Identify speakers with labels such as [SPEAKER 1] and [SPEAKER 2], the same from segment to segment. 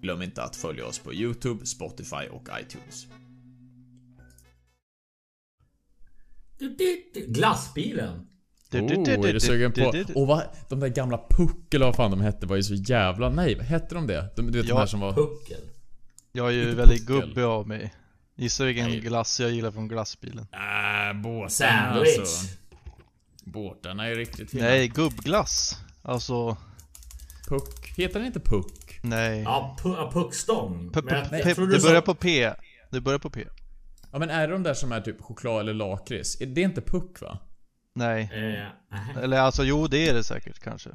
[SPEAKER 1] Glöm inte att följa oss på YouTube, Spotify och iTunes.
[SPEAKER 2] Du, du, du. Glassbilen.
[SPEAKER 3] Oh, är du sugen på... Och vad, de där gamla Puck eller vad fan de hette var ju så jävla... Nej, hette de det? De, du vet de
[SPEAKER 4] Ja.
[SPEAKER 3] här som var...
[SPEAKER 2] Puckel.
[SPEAKER 4] Jag är ju
[SPEAKER 3] Lite
[SPEAKER 4] väldigt
[SPEAKER 3] puckel.
[SPEAKER 4] gubbig av mig. Gissa vilken glass jag gillar från glassbilen.
[SPEAKER 3] Äh, båtarna
[SPEAKER 2] Sandwich.
[SPEAKER 3] alltså. Båtarna är riktigt fina.
[SPEAKER 4] Nej, gubbglass. Alltså,
[SPEAKER 3] Puck. Heter den inte Puck?
[SPEAKER 4] nej.
[SPEAKER 2] Ja, pu ja, puckstång.
[SPEAKER 4] Pe-
[SPEAKER 2] Men jag-
[SPEAKER 4] pe-
[SPEAKER 2] jag
[SPEAKER 4] pe-
[SPEAKER 2] tror du
[SPEAKER 4] Det
[SPEAKER 2] sa-
[SPEAKER 4] börjar på P. Det börjar på P.
[SPEAKER 3] Ja men är det de där som är typ choklad eller lakrits? Är- Det är inte Puck va?
[SPEAKER 4] Nej.
[SPEAKER 2] Eh, nej.
[SPEAKER 4] Eller alltså, jo det är det säkert kanske.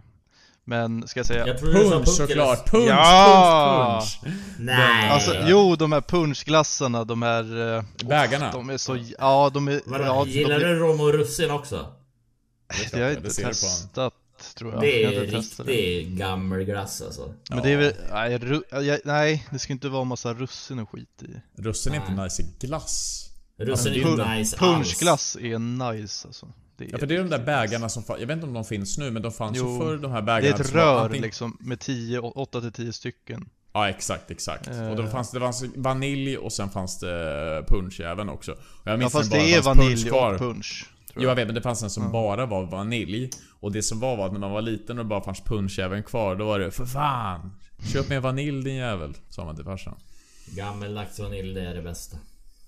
[SPEAKER 4] Men ska jag säga...
[SPEAKER 2] Jag tror du sa
[SPEAKER 3] Punch
[SPEAKER 2] puckel.
[SPEAKER 3] såklart! Punch,
[SPEAKER 4] Ja!
[SPEAKER 3] punch, punch!
[SPEAKER 2] Nej.
[SPEAKER 4] Alltså, jo de här punschglassarna, de här... eh,
[SPEAKER 3] Bägarna.
[SPEAKER 4] De är så... Ja, de är...
[SPEAKER 2] Vadå,
[SPEAKER 4] ja,
[SPEAKER 2] gillar
[SPEAKER 4] de,
[SPEAKER 2] du rom och russin också?
[SPEAKER 4] Det har jag
[SPEAKER 3] Det
[SPEAKER 4] inte
[SPEAKER 3] ser du på honom.
[SPEAKER 4] testat, tror jag.
[SPEAKER 2] det
[SPEAKER 4] jag
[SPEAKER 2] är
[SPEAKER 4] har inte testat det.
[SPEAKER 2] riktig gammelglass alltså.
[SPEAKER 4] Men det är väl, nej, ru, jag, nej, det ska inte vara massa russin och skit i.
[SPEAKER 3] Russin är inte nice i glass.
[SPEAKER 2] Russin är
[SPEAKER 4] Pun-
[SPEAKER 2] inte nice alls.
[SPEAKER 4] Punschglass är nice alltså. Det är,
[SPEAKER 3] Ja för det är de där bägarna som fanns, jag vet inte om de finns nu men de fanns ju
[SPEAKER 4] Jo.
[SPEAKER 3] förr de här
[SPEAKER 4] det
[SPEAKER 3] bägarna
[SPEAKER 4] är ett
[SPEAKER 3] som var
[SPEAKER 4] rör
[SPEAKER 3] antingen-
[SPEAKER 4] liksom med 10, 8 till 10 stycken.
[SPEAKER 3] Ja exakt, exakt.
[SPEAKER 4] Eh.
[SPEAKER 3] Och då fanns det fanns vanilj och sen fanns det punch även också. Och jag
[SPEAKER 4] Ja,
[SPEAKER 3] minns
[SPEAKER 4] fast
[SPEAKER 3] den bara,
[SPEAKER 4] det är
[SPEAKER 3] fanns punch
[SPEAKER 4] vanilj
[SPEAKER 3] kvar.
[SPEAKER 4] och punsch. tror
[SPEAKER 3] Jo jag vet men det fanns en som bara var vanilj. Och det som var var att när man var liten och det bara fanns punch även kvar då var det för fan! Köp mer vanilj din jävel, sa man till farsan.
[SPEAKER 2] Gammeldags vanilj, det är det bästa.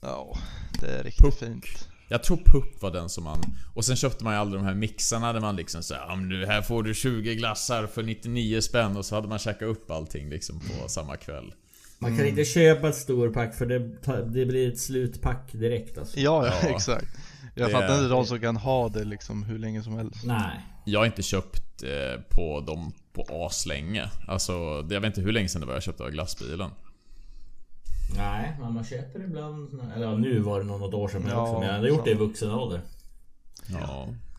[SPEAKER 4] Ja, det är riktigt fint.
[SPEAKER 3] Jag tror Pupp var den som man... Och sen köpte man ju aldrig de här mixarna där man liksom såhär ja, men nu här får du 20 glassar för 99 spänn och så hade man käkat upp allting liksom på samma kväll.
[SPEAKER 2] Man kan inte köpa ett storpack för det, ta- det blir ett slutpack direkt alltså.
[SPEAKER 4] Ja, ja,
[SPEAKER 3] Ja.
[SPEAKER 4] exakt. Jag
[SPEAKER 3] Det-
[SPEAKER 4] fattar inte de som kan ha det liksom hur länge som helst.
[SPEAKER 2] Nej.
[SPEAKER 3] Jag har inte köpt eh, på dem på aslänge. Alltså, det- jag vet inte hur länge sedan det var jag köpte av glassbilen.
[SPEAKER 2] Nej, men man köper ibland. Eller ja, nu var det nog något år sedan men
[SPEAKER 4] Ja,
[SPEAKER 2] också. Men jag hade gjort
[SPEAKER 4] sant.
[SPEAKER 2] det i vuxen ålder.
[SPEAKER 3] Ja,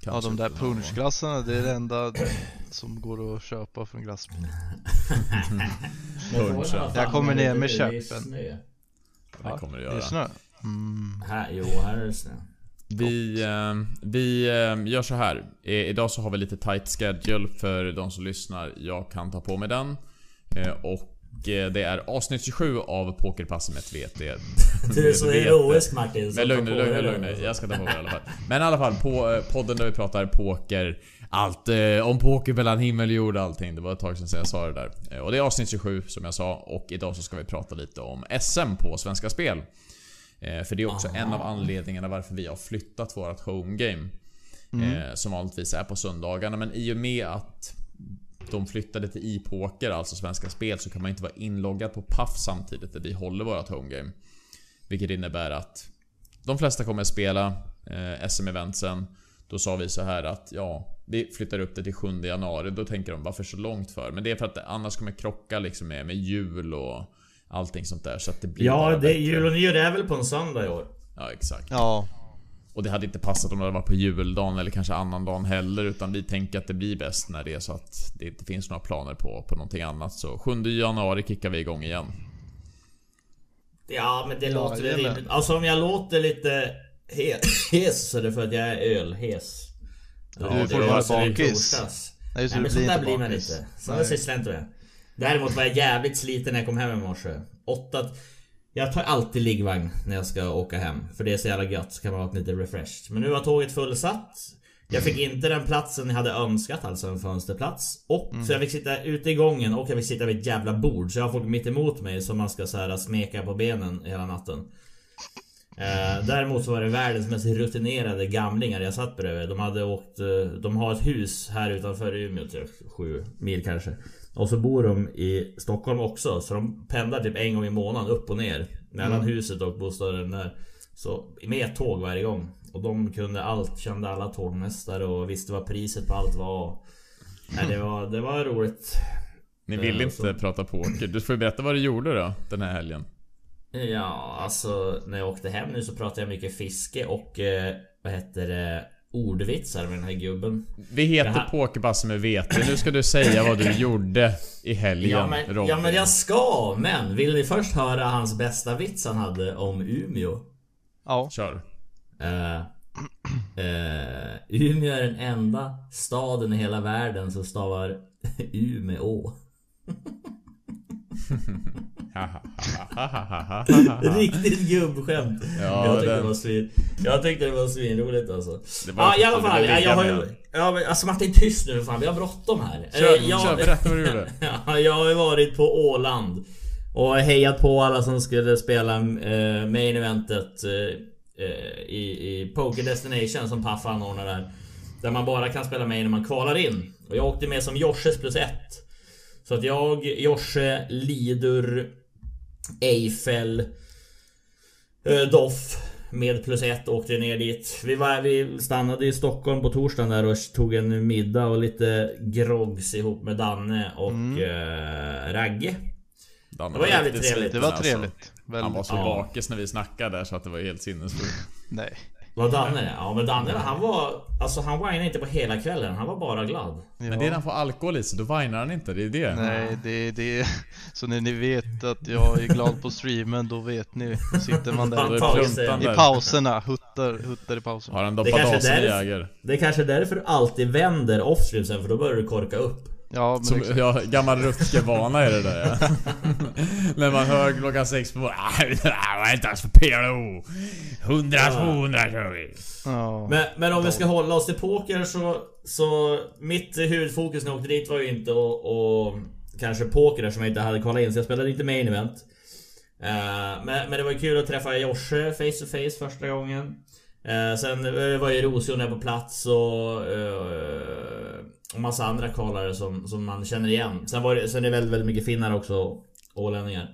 [SPEAKER 4] Ja,
[SPEAKER 3] kanske
[SPEAKER 4] de där
[SPEAKER 3] inte någon gång.
[SPEAKER 4] punschglassarna, det är det enda som går att köpa från glassbil.
[SPEAKER 2] Men frågan är vad
[SPEAKER 3] Punchen.
[SPEAKER 2] fan
[SPEAKER 4] Jag kommer
[SPEAKER 2] om det
[SPEAKER 4] ner med
[SPEAKER 2] inte blir
[SPEAKER 4] köpen.
[SPEAKER 2] snö.
[SPEAKER 3] Det kommer det
[SPEAKER 4] Det är
[SPEAKER 3] göra.
[SPEAKER 4] snö. Mm.
[SPEAKER 2] Här, jo, här är det snö.
[SPEAKER 3] Vi, eh, vi eh, gör så här. Eh, idag så har vi lite tight schedule för de som lyssnar. Jag kan ta på mig den. Eh, och eh, det är avsnitt 27 av Pokerpasset med ett VT.
[SPEAKER 2] Du är så
[SPEAKER 3] Medvetet.
[SPEAKER 2] heroisk Martin. så
[SPEAKER 3] Men
[SPEAKER 2] ta
[SPEAKER 3] lugn nu,
[SPEAKER 2] på
[SPEAKER 3] lugn nu,
[SPEAKER 2] dig
[SPEAKER 3] lugn
[SPEAKER 2] det.
[SPEAKER 3] nu. Jag ska ta på mig i alla fall. Men i alla fall, på eh, podden där vi pratar poker. Allt eh, om poker mellan himmel och jord och allting. Det var ett tag sedan jag sa det där. Eh, och det är avsnitt 27 som jag sa. Och idag så ska vi prata lite om SM på Svenska Spel. Eh, för det är också en av anledningarna varför vi har flyttat vårt homegame. Eh, som vanligtvis är på söndagarna. Men i och med att de flyttade till e-poker, alltså Svenska Spel, så kan man inte vara inloggad på Paf samtidigt där vi håller vårt homegame. Vilket innebär att de flesta kommer spela eh, SM-eventsen. Då sa vi så här att ja, vi flyttar upp det till 7 januari. Då tänker de varför så långt för? Men det är för att det annars kommer krocka liksom med, med jul och allting sånt där. Så att det blir
[SPEAKER 2] Ja,
[SPEAKER 3] bara
[SPEAKER 2] det är
[SPEAKER 3] bättre.
[SPEAKER 2] jul och nyår. Det är väl på en söndag i år?
[SPEAKER 3] Ja, exakt.
[SPEAKER 4] Ja,
[SPEAKER 3] Och det hade inte passat om det hade varit på juldagen eller kanske annandagen heller. Utan vi tänker att det blir bäst när det är så att det inte finns några planer på, på någonting annat. Så 7 januari kickar vi igång igen.
[SPEAKER 2] Ja, men det låter väl
[SPEAKER 4] det är med.
[SPEAKER 2] rimligt. Alltså om jag låter lite he- hes så är det för att jag är ölhes. Ja,
[SPEAKER 4] du är
[SPEAKER 2] det var
[SPEAKER 4] fortfarande
[SPEAKER 2] så det
[SPEAKER 4] bakis.
[SPEAKER 2] torsdags.
[SPEAKER 4] Nej, så
[SPEAKER 2] Nej
[SPEAKER 4] du
[SPEAKER 2] men sånt
[SPEAKER 4] blir
[SPEAKER 2] där
[SPEAKER 4] inte
[SPEAKER 2] blir man
[SPEAKER 4] bakis.
[SPEAKER 2] inte. Sådana sysslar inte med. Däremot var jag jävligt sliten när jag kom hem i morse. Åtta... Jag tar alltid liggvagn när jag ska åka hem. För det är så jävla gött så kan man vara lite refreshed. Men nu var tåget fullsatt. Jag fick inte den platsen jag hade önskat, alltså en fönsterplats. Och så jag fick sitta ute i gången och jag fick sitta vid ett jävla bord. Så jag har folk mitt emot mig som man ska så här smeka på benen hela natten. Eh, däremot så var det världens mest rutinerade gamlingar jag satt bredvid. De hade åkt... Eh, de har ett hus här utanför Umeå, typ sju mil kanske. Och så bor de i Stockholm också, så de pendlar typ en gång i månaden upp och ner. Mellan huset och bostaden där. Så med ett tåg varje gång. Och de kunde allt, kände alla tågmästare och visste vad priset på allt var. Nej, det, var det var roligt.
[SPEAKER 3] Ni vill
[SPEAKER 2] Ja,
[SPEAKER 3] inte
[SPEAKER 2] så-
[SPEAKER 3] prata poker. Du får ju berätta vad du gjorde då den här helgen.
[SPEAKER 2] Ja, alltså när jag åkte hem nu så pratade jag mycket fiske och eh, vad heter det? Ordvitsar med den här gubben.
[SPEAKER 3] Vi heter
[SPEAKER 2] Det här-
[SPEAKER 3] Pokerbasse med VT. Nu ska du säga vad du gjorde i helgen
[SPEAKER 2] Ja men,
[SPEAKER 3] Robin.
[SPEAKER 2] ja men jag ska, men vill ni först höra hans bästa vits han hade om Umeå?
[SPEAKER 4] Ja.
[SPEAKER 3] Kör.
[SPEAKER 2] Eh, eh, Umeå är den enda staden i hela världen som stavar Umeå. Riktigt gubbskämt.
[SPEAKER 3] Ja,
[SPEAKER 2] jag, tyckte
[SPEAKER 3] den-
[SPEAKER 2] det var svin, jag tyckte det var svinroligt alltså.
[SPEAKER 3] Det var-
[SPEAKER 2] Ja i alla
[SPEAKER 3] det var
[SPEAKER 2] fall.
[SPEAKER 3] lika
[SPEAKER 2] Jag, jag har ju,
[SPEAKER 3] med-
[SPEAKER 2] ja, men, alltså Martin tyst nu för fan, vi har bråttom här.
[SPEAKER 3] Kör,
[SPEAKER 2] Eh, jag,
[SPEAKER 3] kör, berätta vad du gjorde.
[SPEAKER 2] Ja, jag har ju varit på Åland. Och hejat på alla som skulle spela eh, main eventet eh, eh, i, i Poker Destination som Paff anordnar där. Där man bara kan spela main när man kvalar in. Och jag åkte med som Josses plus ett. Så att jag, Jorse, Lidur, Eiffel, eh, Doff med plus ett åkte ner dit. Vi, var, vi stannade i Stockholm på torsdagen där och tog en middag och lite groggs ihop med Danne och eh, Ragge.
[SPEAKER 3] Danne
[SPEAKER 2] Det var jävligt
[SPEAKER 3] riktigt
[SPEAKER 2] trevligt.
[SPEAKER 4] Det
[SPEAKER 3] sliten,
[SPEAKER 4] var
[SPEAKER 3] alltså.
[SPEAKER 4] trevligt.
[SPEAKER 3] Han var
[SPEAKER 4] Väldigt.
[SPEAKER 3] så bakis när vi snackade där så att det var ju helt sinnessjukt.
[SPEAKER 4] Nej.
[SPEAKER 2] Var Danne det? Ja men Danne han var... Alltså han whinade inte på hela kvällen, han var bara glad.
[SPEAKER 3] Men det är när han får alkohol i sig, då vinar han inte. Det är det.
[SPEAKER 4] Nej, det, det Så när ni vet att jag är glad på streamen, då vet ni. Sitter man
[SPEAKER 3] Då
[SPEAKER 4] där
[SPEAKER 3] är
[SPEAKER 2] Fan,
[SPEAKER 3] pluntan
[SPEAKER 4] i
[SPEAKER 3] där.
[SPEAKER 4] pauserna, huttar, huttar i pausen.
[SPEAKER 3] Har han
[SPEAKER 2] Det kanske
[SPEAKER 3] doppat
[SPEAKER 2] är
[SPEAKER 3] av sig i
[SPEAKER 2] därför-
[SPEAKER 3] Jäger?
[SPEAKER 2] Det är kanske är därför du alltid vänder offstream sen för då börjar du korka upp.
[SPEAKER 4] Ja, men
[SPEAKER 3] Som,
[SPEAKER 2] liksom-
[SPEAKER 4] exakt.
[SPEAKER 3] ja, gammal rutgervana är det där ja. När man hör klockan sex på morgonen. "Ah, det där var inte alls för PLO. 100 200 kör vi.
[SPEAKER 4] Ja.
[SPEAKER 2] Men, men om vi ska hålla oss till poker så, så mitt huvudfokus när jag åkte dit var ju inte att och, kanske poker som jag inte hade kvalat in så jag spelade inte main event. Eh, men, men det var ju kul att träffa Josse face to face första gången. Eh, sen eh, var ju Rosjorna på plats och, eh, och massa andra kvalare som, som man känner igen. Sen, var det, sen är det väldigt, väldigt mycket finnar också och ålänningar.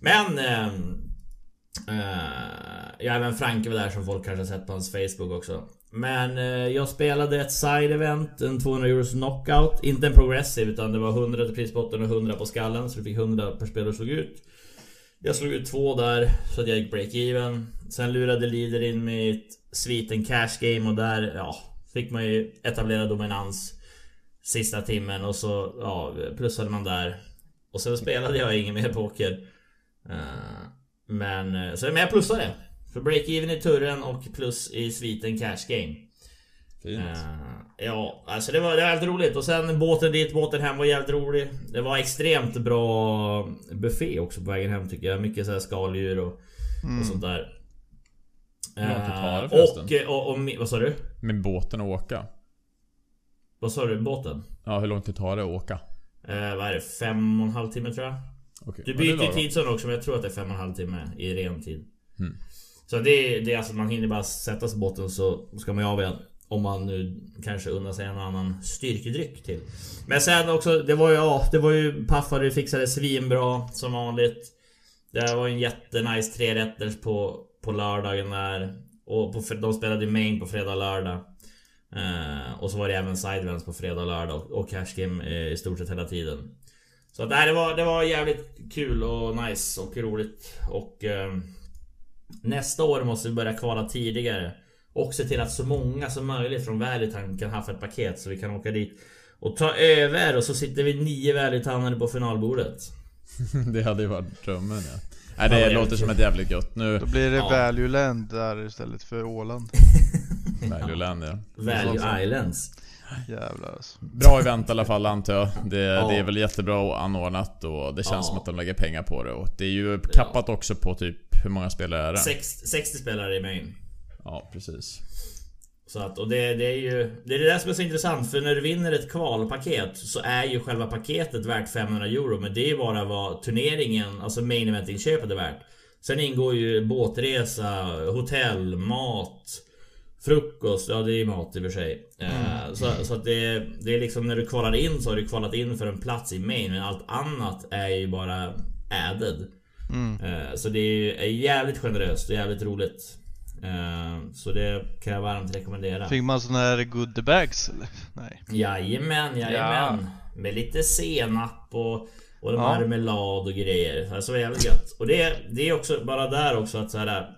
[SPEAKER 2] Men ehm, Eh, ja, även Franke var där som folk kanske har sett på hans Facebook också. Men eh, jag spelade ett side event, en 200 euros knockout. Inte en progressive utan det var 100 till prisbotten och 100 på skallen. Så vi fick 100 per spelare och slog ut. Jag slog ut två där, så att jag gick break-even. Sen lurade Leader in mitt sviten cash game och där, ja, fick man ju etablera dominans sista timmen och så, ja, plussade man där. Och sen spelade jag ingen mer poker. Eh, men, eh, så, men jag plussade. För break-even i turren och plus i sviten cash game.
[SPEAKER 3] Fint.
[SPEAKER 2] Eh, ja, alltså det var, det var jävligt roligt. Och sen båten dit, båten hem var jävligt rolig. Det var extremt bra buffé också på vägen hem tycker jag. Mycket så här skaldjur och,
[SPEAKER 3] Mm.
[SPEAKER 2] och sånt där.
[SPEAKER 3] Bra att du tar det
[SPEAKER 2] Eh,
[SPEAKER 3] förresten.
[SPEAKER 2] och, och, och, mi- vad sa du?
[SPEAKER 3] Med båten och åka.
[SPEAKER 2] Vad sa du? Båten?
[SPEAKER 3] Ja, hur lång tid tar det att åka?
[SPEAKER 2] Eh, vad är det? Fem och en halv timme tror jag.
[SPEAKER 3] Okej,
[SPEAKER 2] Du
[SPEAKER 3] ja, det är
[SPEAKER 2] byter ju
[SPEAKER 3] lagom.
[SPEAKER 2] tidszon också men jag tror att det är fem och en halv timme i ren tid.
[SPEAKER 3] Mm.
[SPEAKER 2] Så det, är- det är alltså man hinner bara sätta sig i båten så ska man ju av igen. Om man nu kanske unnar sig en och annan styrkedryck till. Men sen också, det var ju, ja, det var ju paffar du fixade svinbra som vanligt. Det var en jättenice trerätters på, på lördagen där. Och på, fr- de spelade ju main på fredag och lördag. Eh, och så var det även side events på fredag och lördag och, och cash game eh, i stort sett hela tiden. Så att, nej, det, var, det var jävligt kul och nice och roligt. Och eh, nästa år måste vi börja kvala tidigare. Och se till att så många som möjligt från Valuetown kan haffa ett paket så vi kan åka dit och ta över och så sitter vi nio Valuetownare på finalbordet.
[SPEAKER 3] Det hade ju varit drömmen ja. Nej,
[SPEAKER 2] vad
[SPEAKER 3] det
[SPEAKER 2] jävligt
[SPEAKER 3] låter som ett jävligt gött nu.
[SPEAKER 4] Då blir det
[SPEAKER 2] Ja.
[SPEAKER 4] Value Land där istället för Åland.
[SPEAKER 3] Valueland ja.
[SPEAKER 2] Value Islands.
[SPEAKER 4] Jävlar alltså.
[SPEAKER 3] Bra event i alla fall antar jag. Det,
[SPEAKER 2] Ja.
[SPEAKER 3] det är väl jättebra och anordnat och det känns
[SPEAKER 2] Ja.
[SPEAKER 3] som att de lägger pengar på det. Och det är ju kappat också på typ, hur många spelare är det?
[SPEAKER 2] Sex, 60 spelare i main.
[SPEAKER 3] Ja, precis.
[SPEAKER 2] Så att, och det, det är ju det är det där som är så intressant för när du vinner ett kvalpaket så är ju själva paketet värt 500 euro men det är ju bara vad turneringen, alltså main event inköpet är värt. Sen ingår ju båtresa, hotell, mat, frukost, ja det är ju mat i och för sig. Eh, Så, så att det, det är liksom när du kvalar in så har du kvalat in för en plats i main men allt annat är ju bara added. Eh, Så det är ju är jävligt generöst och jävligt roligt. Eh, Så det kan jag varmt rekommendera.
[SPEAKER 4] Fick man såna här goodie bags eller? Nej.
[SPEAKER 2] Jajamän, jajamän. Med lite senap och, och marmelad och grejer. Alltså det var jävligt gött. Och det, det är också bara där också att så här.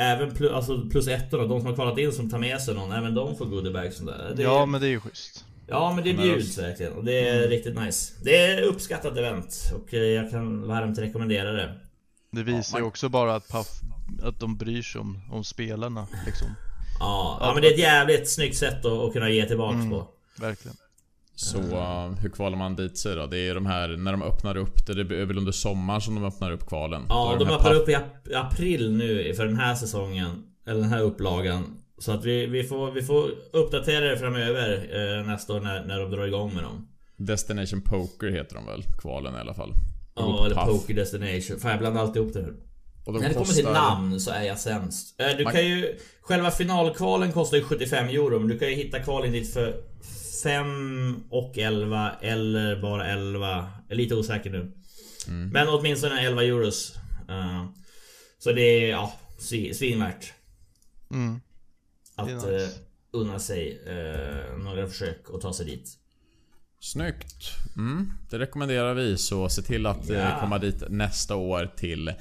[SPEAKER 2] Även plus, alltså plus ettorna, de som har kvalat in som tar med sig någon, även de får goodiebags och sånt där. Det,
[SPEAKER 4] Ja men det är ju schysst.
[SPEAKER 2] ja men det bjuds verkligen och det är riktigt nice. Det är ett uppskattat event och eh, jag kan varmt rekommendera det.
[SPEAKER 4] Det visar ju också bara att Puff, att de bryr sig om, om spelarna liksom.
[SPEAKER 2] Ja, ja men det är ett jävligt snyggt sätt att, att kunna ge tillbaks på.
[SPEAKER 4] Verkligen.
[SPEAKER 3] Så eh, hur kvalar man dit sig då? Det är de här, när de öppnar upp det, det är väl under sommar som de öppnar upp kvalen? Då
[SPEAKER 2] Ja,
[SPEAKER 3] är
[SPEAKER 2] de
[SPEAKER 3] här
[SPEAKER 2] öppnar
[SPEAKER 3] pa-
[SPEAKER 2] upp i ap- april nu för den här säsongen. Eller den här upplagan. Så att vi, vi, får, vi får uppdatera det framöver eh, nästa år när, när de drar igång med dem.
[SPEAKER 3] Destination Poker heter de väl? Kvalen i alla fall. De går
[SPEAKER 2] Ja,
[SPEAKER 3] på
[SPEAKER 2] eller
[SPEAKER 3] Paf.
[SPEAKER 2] Poker Destination. Fan jag blandar alltid ihop det här.
[SPEAKER 3] Och de
[SPEAKER 2] När det kommer till
[SPEAKER 3] kostar-
[SPEAKER 2] namn så är jag sämst. Eh, Du
[SPEAKER 3] Man-
[SPEAKER 2] kan ju... Själva finalkvalen kostar ju 75 euro men du kan ju hitta kvalen dit för 5 och 11 eller bara 11. Jag är lite osäker nu.
[SPEAKER 3] Mm.
[SPEAKER 2] Men åtminstone 11 euros. Eh, Så det är ja, svi- svinvärt.
[SPEAKER 4] Mm.
[SPEAKER 2] Att
[SPEAKER 4] Det är nice.
[SPEAKER 2] eh, unna sig eh, några försök och ta sig dit.
[SPEAKER 3] Snyggt. Mm, det rekommenderar vi, så se till att eh,
[SPEAKER 2] Ja.
[SPEAKER 3] komma dit nästa år till